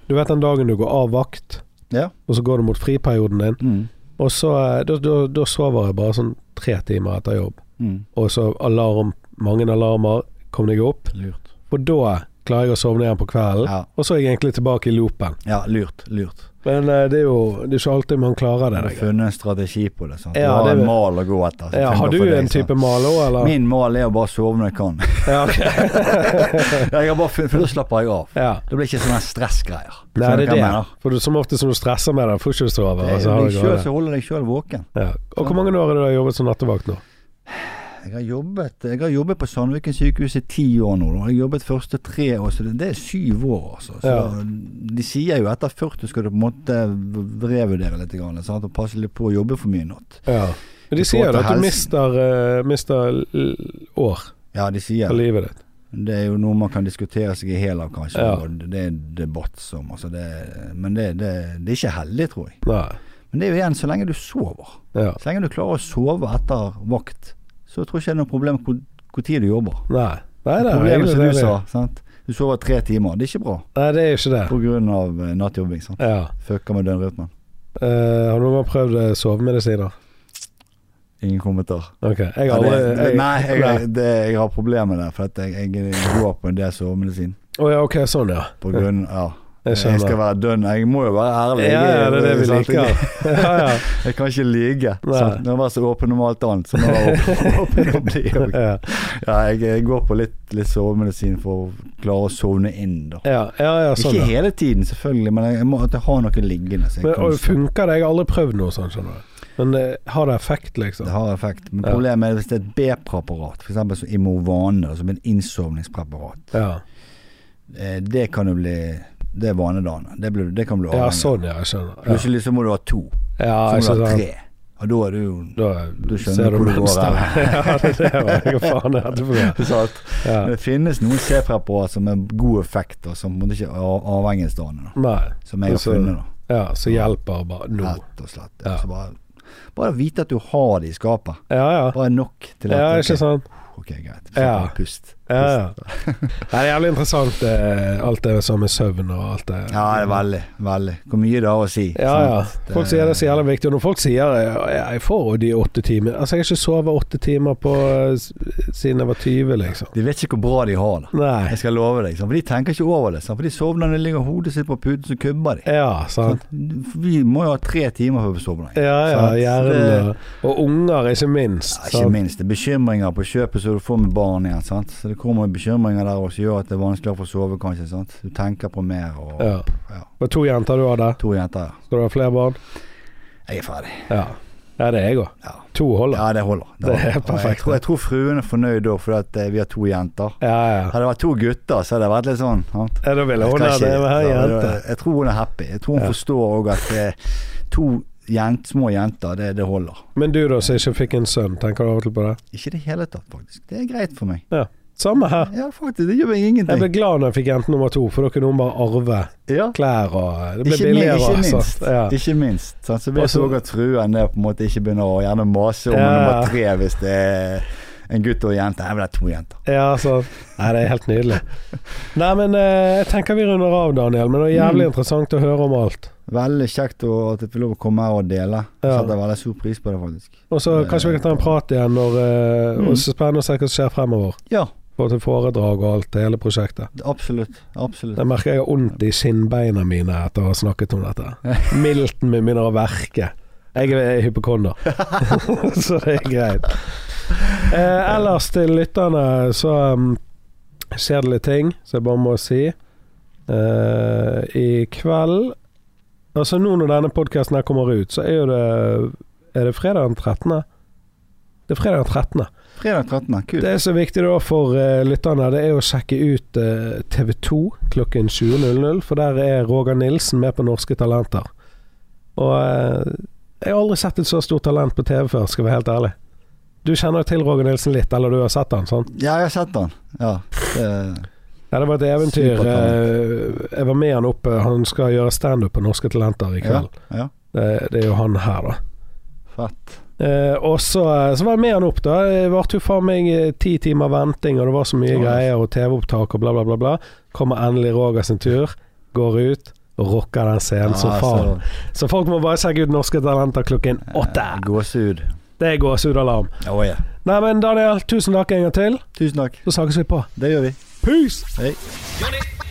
Speaker 1: Du vet den dagen du går av vakt,
Speaker 2: Ja.
Speaker 1: og så går du mot friperioden din,
Speaker 2: Mm.
Speaker 1: og så eh, Da da- da sover jeg bare sånn tre timer etter jobb,
Speaker 2: Mm.
Speaker 1: og så alarm Mange alarmer, kom deg opp,
Speaker 2: Lurt.
Speaker 1: og da klarer jeg å sovne igjen på kvelden.
Speaker 2: Ja.
Speaker 1: Og så er jeg egentlig tilbake i loopen.
Speaker 2: ja, lurt. Lurt.
Speaker 1: Men eh, det er jo det er ikke alltid man klarer
Speaker 2: Du
Speaker 1: det.
Speaker 2: har
Speaker 1: det.
Speaker 2: funnet en strategi på det. Sant? Du
Speaker 1: Ja,
Speaker 2: har
Speaker 1: det er-
Speaker 2: en mal å gå etter. som
Speaker 1: Ja, har
Speaker 2: funker
Speaker 1: du
Speaker 2: for deg,
Speaker 1: en
Speaker 2: sant?
Speaker 1: type male òg, eller?
Speaker 2: Min mal er å bare sove når jeg kan.
Speaker 1: Ja, ok.
Speaker 2: jeg har bare funnet, For da slapper jeg av.
Speaker 1: ja.
Speaker 2: Det blir ikke sånne stressgreier.
Speaker 1: Nei,
Speaker 2: Skjønner
Speaker 1: det
Speaker 2: du hva
Speaker 1: er
Speaker 2: jeg
Speaker 1: det.
Speaker 2: mener?
Speaker 1: For du, som oftest når du stresser med det, får ikke du sove.
Speaker 2: Det
Speaker 1: og
Speaker 2: er
Speaker 1: så har
Speaker 2: jo
Speaker 1: du
Speaker 2: deg
Speaker 1: gående.
Speaker 2: sjøl som holder deg sjøl våken.
Speaker 1: Ja. Og hvor mange år har du da jobbet som nattevakt nå?
Speaker 2: Jeg har jobbet, jeg har jobbet på Sandviken sykehus i ti år nå. da. Jeg har jobbet første tre år, så det, det er syv år, altså. Så
Speaker 1: Ja.
Speaker 2: De sier jo etter 40 skal du på en måte v- revurdere litt grann, sant? og passe litt på å jobbe for mye natt.
Speaker 1: Ja. Men de
Speaker 2: I
Speaker 1: sier
Speaker 2: forhold
Speaker 1: da at
Speaker 2: til
Speaker 1: du
Speaker 2: helse.
Speaker 1: mister, eh, mister l- år
Speaker 2: Ja, de
Speaker 1: av
Speaker 2: sier det.
Speaker 1: livet ditt.
Speaker 2: Det er jo noe man kan diskutere seg i hæl av, kanskje.
Speaker 1: Ja.
Speaker 2: og Det er en debatt som altså det, Men det, det, det er ikke heldig, tror jeg.
Speaker 1: Nei.
Speaker 2: Men det er jo igjen så lenge du sover.
Speaker 1: Ja.
Speaker 2: Så lenge du klarer å sove etter vakt, så tror jeg ikke det er noe problem hvor, hvor tid du jobber.
Speaker 1: Nei. Nei, det er
Speaker 2: Problemet
Speaker 1: egentlig
Speaker 2: som
Speaker 1: det.
Speaker 2: du
Speaker 1: det.
Speaker 2: sa, sant? du sover tre timer. Det er ikke bra
Speaker 1: Nei, det er ikke det.
Speaker 2: pga. eh, nattjobbing. sant?
Speaker 1: Ja.
Speaker 2: Fucker med døgnrytmen.
Speaker 1: Eh, har du noen gang prøvd eh, sovemedisiner?
Speaker 2: Ingen kommentar.
Speaker 1: Ok. Jeg har
Speaker 2: Ja,
Speaker 1: aldri
Speaker 2: det, det,
Speaker 1: jeg-
Speaker 2: nei, jeg, det, jeg har problemer med det. For at jeg, jeg går på en del sovemedisin
Speaker 1: Å ja, ok, sånn, ja.
Speaker 2: på grunn ja.
Speaker 1: Jeg
Speaker 2: Jeg
Speaker 1: skjønner.
Speaker 2: skal være eh, dønn. Jeg må jo være ærlig.
Speaker 1: Ja, ja, det er det vi
Speaker 2: sant?
Speaker 1: liker.
Speaker 2: Jeg,
Speaker 1: Ja, ja.
Speaker 2: jeg kan ikke lyve.
Speaker 1: Nei.
Speaker 2: sant? Nå var jeg så åpen om alt annet, så nå er jeg åpen om det òg.
Speaker 1: Ja.
Speaker 2: Ja, jeg, jeg går på litt, litt sovemedisin for å klare å sovne inn, da.
Speaker 1: Ja, ja, ja, sånn, ja.
Speaker 2: Ikke hele tiden, selvfølgelig, men jeg, jeg må at jeg har noe liggende. Så jeg
Speaker 1: Men,
Speaker 2: kan
Speaker 1: og
Speaker 2: stå-
Speaker 1: funker det? Jeg har aldri prøvd noe sånt, skjønner du. Men eh, har det effekt, liksom?
Speaker 2: Det har effekt. Men
Speaker 1: Ja.
Speaker 2: problemet er hvis det er et B-preparat, f.eks. som Imovane, da, som er en innsovningspreparat.
Speaker 1: Ja.
Speaker 2: eh, Det kan jo bli Det er vanedannende. Det, blir- det kan bli
Speaker 1: ja,
Speaker 2: avhengig.
Speaker 1: sånn, ja. Jeg skjønner.
Speaker 2: Plutselig så må du ha to.
Speaker 1: Ja, ja
Speaker 2: Så
Speaker 1: jeg
Speaker 2: må du ha
Speaker 1: skjønner.
Speaker 2: tre. Og da er du jo
Speaker 1: Da
Speaker 2: Du skjønner
Speaker 1: ser
Speaker 2: hvor det går,
Speaker 1: mønsteret. ja, det er det. Hva faen er det for noe?
Speaker 2: sant?
Speaker 1: Ja.
Speaker 2: Men Det finnes noen C-preparat som er god effekt, og som på en måte ikke er av- avhengighetsdannende. da.
Speaker 1: Nei.
Speaker 2: Som jeg har
Speaker 1: Altså,
Speaker 2: funnet, da.
Speaker 1: Ja, så hjelper bare nå.
Speaker 2: Rett og slett.
Speaker 1: Ja.
Speaker 2: Så bare, bare vite at du har det i skapet.
Speaker 1: Ja, ja.
Speaker 2: Bare nok til at
Speaker 1: Ja,
Speaker 2: ok,
Speaker 1: ikke sant?
Speaker 2: Ok, greit.
Speaker 1: Ja.
Speaker 2: Pust.
Speaker 1: Ja, ja. Nei, Det er jævlig interessant, eh, alt det som er søvn og alt det.
Speaker 2: Ja, det er veldig, veldig. Hvor mye det har å si.
Speaker 1: Ja, ja.
Speaker 2: sant?
Speaker 1: Folk sier det er så jævlig viktig. Og når folk sier eh, ja, 'jeg får jo de åtte timene' Altså, jeg har ikke sovet åtte timer på eh, s- siden jeg var 20, liksom.
Speaker 2: De vet ikke hvor bra de har det.
Speaker 1: Nei.
Speaker 2: Jeg skal love deg. sant? For de tenker ikke over det. sant? For de sovner når de ligger hodet sitt på puten, så kubber de.
Speaker 1: Ja, sant.
Speaker 2: For Vi må jo ha tre timer før vi sovner.
Speaker 1: Ja, ja.
Speaker 2: Sant?
Speaker 1: Hjernen og- og unger, ikke minst.
Speaker 2: Ja, ikke
Speaker 1: sant?
Speaker 2: minst. Det er bekymringer på kjøpet som du får med barn igjen. sant? Så det kommer bekymringer der også, som gjør at det er vanskeligere for å sove, kanskje. sant? Du tenker på mer og
Speaker 1: Ja.
Speaker 2: Ja.
Speaker 1: Det var to jenter du hadde.
Speaker 2: To jenter.
Speaker 1: Skal du ha flere barn?
Speaker 2: Jeg er ferdig.
Speaker 1: Ja. ja det er jeg òg.
Speaker 2: Ja,
Speaker 1: To holder.
Speaker 2: ja det holder.
Speaker 1: Det er
Speaker 2: holder. Og Jeg
Speaker 1: perfekt.
Speaker 2: tror, jeg tror fruen er fornøyd da, fordi at eh, vi har to jenter.
Speaker 1: Ja, ja.
Speaker 2: Hadde det vært to gutter, så hadde det vært litt sånn. sant?
Speaker 1: ja da ville
Speaker 2: Jeg
Speaker 1: hun
Speaker 2: skal
Speaker 1: ha det
Speaker 2: ikke-
Speaker 1: med her
Speaker 2: ja,
Speaker 1: jente.
Speaker 2: Jeg tror hun er happy. Jeg tror hun
Speaker 1: Ja.
Speaker 2: forstår òg at eh, to jent, små jenter, det, det holder.
Speaker 1: Men du da, som ikke fikk en sønn, tenker du av og til på det?
Speaker 2: Ikke i det hele tatt, faktisk. Det er greit for meg.
Speaker 1: Ja. Samme her.
Speaker 2: Ja, faktisk. Det gjør meg
Speaker 1: Jeg ble
Speaker 2: ingenting.
Speaker 1: glad når jeg fikk jente nummer to, for da kunne hun bare arve
Speaker 2: Ja.
Speaker 1: klær og Det ble
Speaker 2: Ikke, mi-
Speaker 1: billigere.
Speaker 2: ikke
Speaker 1: og
Speaker 2: minst.
Speaker 1: sånt. Ja.
Speaker 2: Ikke minst. sant? Så vil jeg
Speaker 1: Også-
Speaker 2: så at fruen der på en måte ikke begynner å gjerne mase om
Speaker 1: Ja.
Speaker 2: nummer tre hvis det er en gutt og en jente. Jeg vil ha to jenter.
Speaker 1: Ja, sant. Nei, det er helt nydelig. Nei, men eh, jeg tenker vi runder av, Daniel. Men det var
Speaker 2: Mm.
Speaker 1: jævlig interessant å høre om alt.
Speaker 2: Veldig kjekt å, at jeg får lov å komme her og dele. Jeg
Speaker 1: Ja.
Speaker 2: setter veldig stor pris på det, faktisk.
Speaker 1: Og så kanskje vi kan ta en prat igjen, når, eh, og så spennende å se hva som skjer fremover.
Speaker 2: Mm. Ja,
Speaker 1: Både foredrag og alt, det hele prosjektet.
Speaker 2: absolutt. Absolutt.
Speaker 1: Jeg merker jeg har vondt i skinnbeina mine etter å ha snakket om dette. Milten min begynner å verke. Jeg er hypokonder, så det er greit. Eh, ellers til lytterne så um, skjer det litt ting som jeg bare må si. Eh, I kveld Altså nå når denne podkasten her kommer ut, så er jo det Er det fredag den 13.? Det er fredag den 13.
Speaker 2: Fredag 13. Kult.
Speaker 1: Det er så viktig da for eh, lytterne, det er å sjekke ut eh, TV 2 klokken 20.00, for der er Roger Nilsen med på Norske Talenter. Og eh, jeg har aldri sett et så stort talent på TV før, skal jeg være helt ærlig. Du kjenner jo til Roger Nilsen litt, eller du har sett han, sant?
Speaker 2: Ja, jeg har sett den. Ja. Det,
Speaker 1: Ja, det var et eventyr.
Speaker 2: Supertalent.
Speaker 1: eh, Jeg var med han opp, eh, han skal gjøre standup på Norske Talenter i
Speaker 2: ja,
Speaker 1: kveld.
Speaker 2: ja.
Speaker 1: Det, det er jo han her, da.
Speaker 2: Fett.
Speaker 1: Eh, og så, så var jeg med han opp, da. Det varte jo faen meg eh, ti timer venting, og det var så mye
Speaker 2: Ja.
Speaker 1: greier, og TV-opptak og bla, bla, bla. bla. Kommer endelig Roger sin tur, går ut og rocker den scenen som
Speaker 2: Ja, altså,
Speaker 1: faen. Så folk må bare sjekke ut Norske Talenter klokken åtte.
Speaker 2: så- Gåsehud.
Speaker 1: Det er gåsehudalarm.
Speaker 2: Å ja.
Speaker 1: Nei, men Daniel, tusen takk en gang til.
Speaker 2: Tusen takk.
Speaker 1: Så snakkes vi på.
Speaker 2: Det gjør vi.
Speaker 1: Peace!
Speaker 2: Hei.
Speaker 3: Unit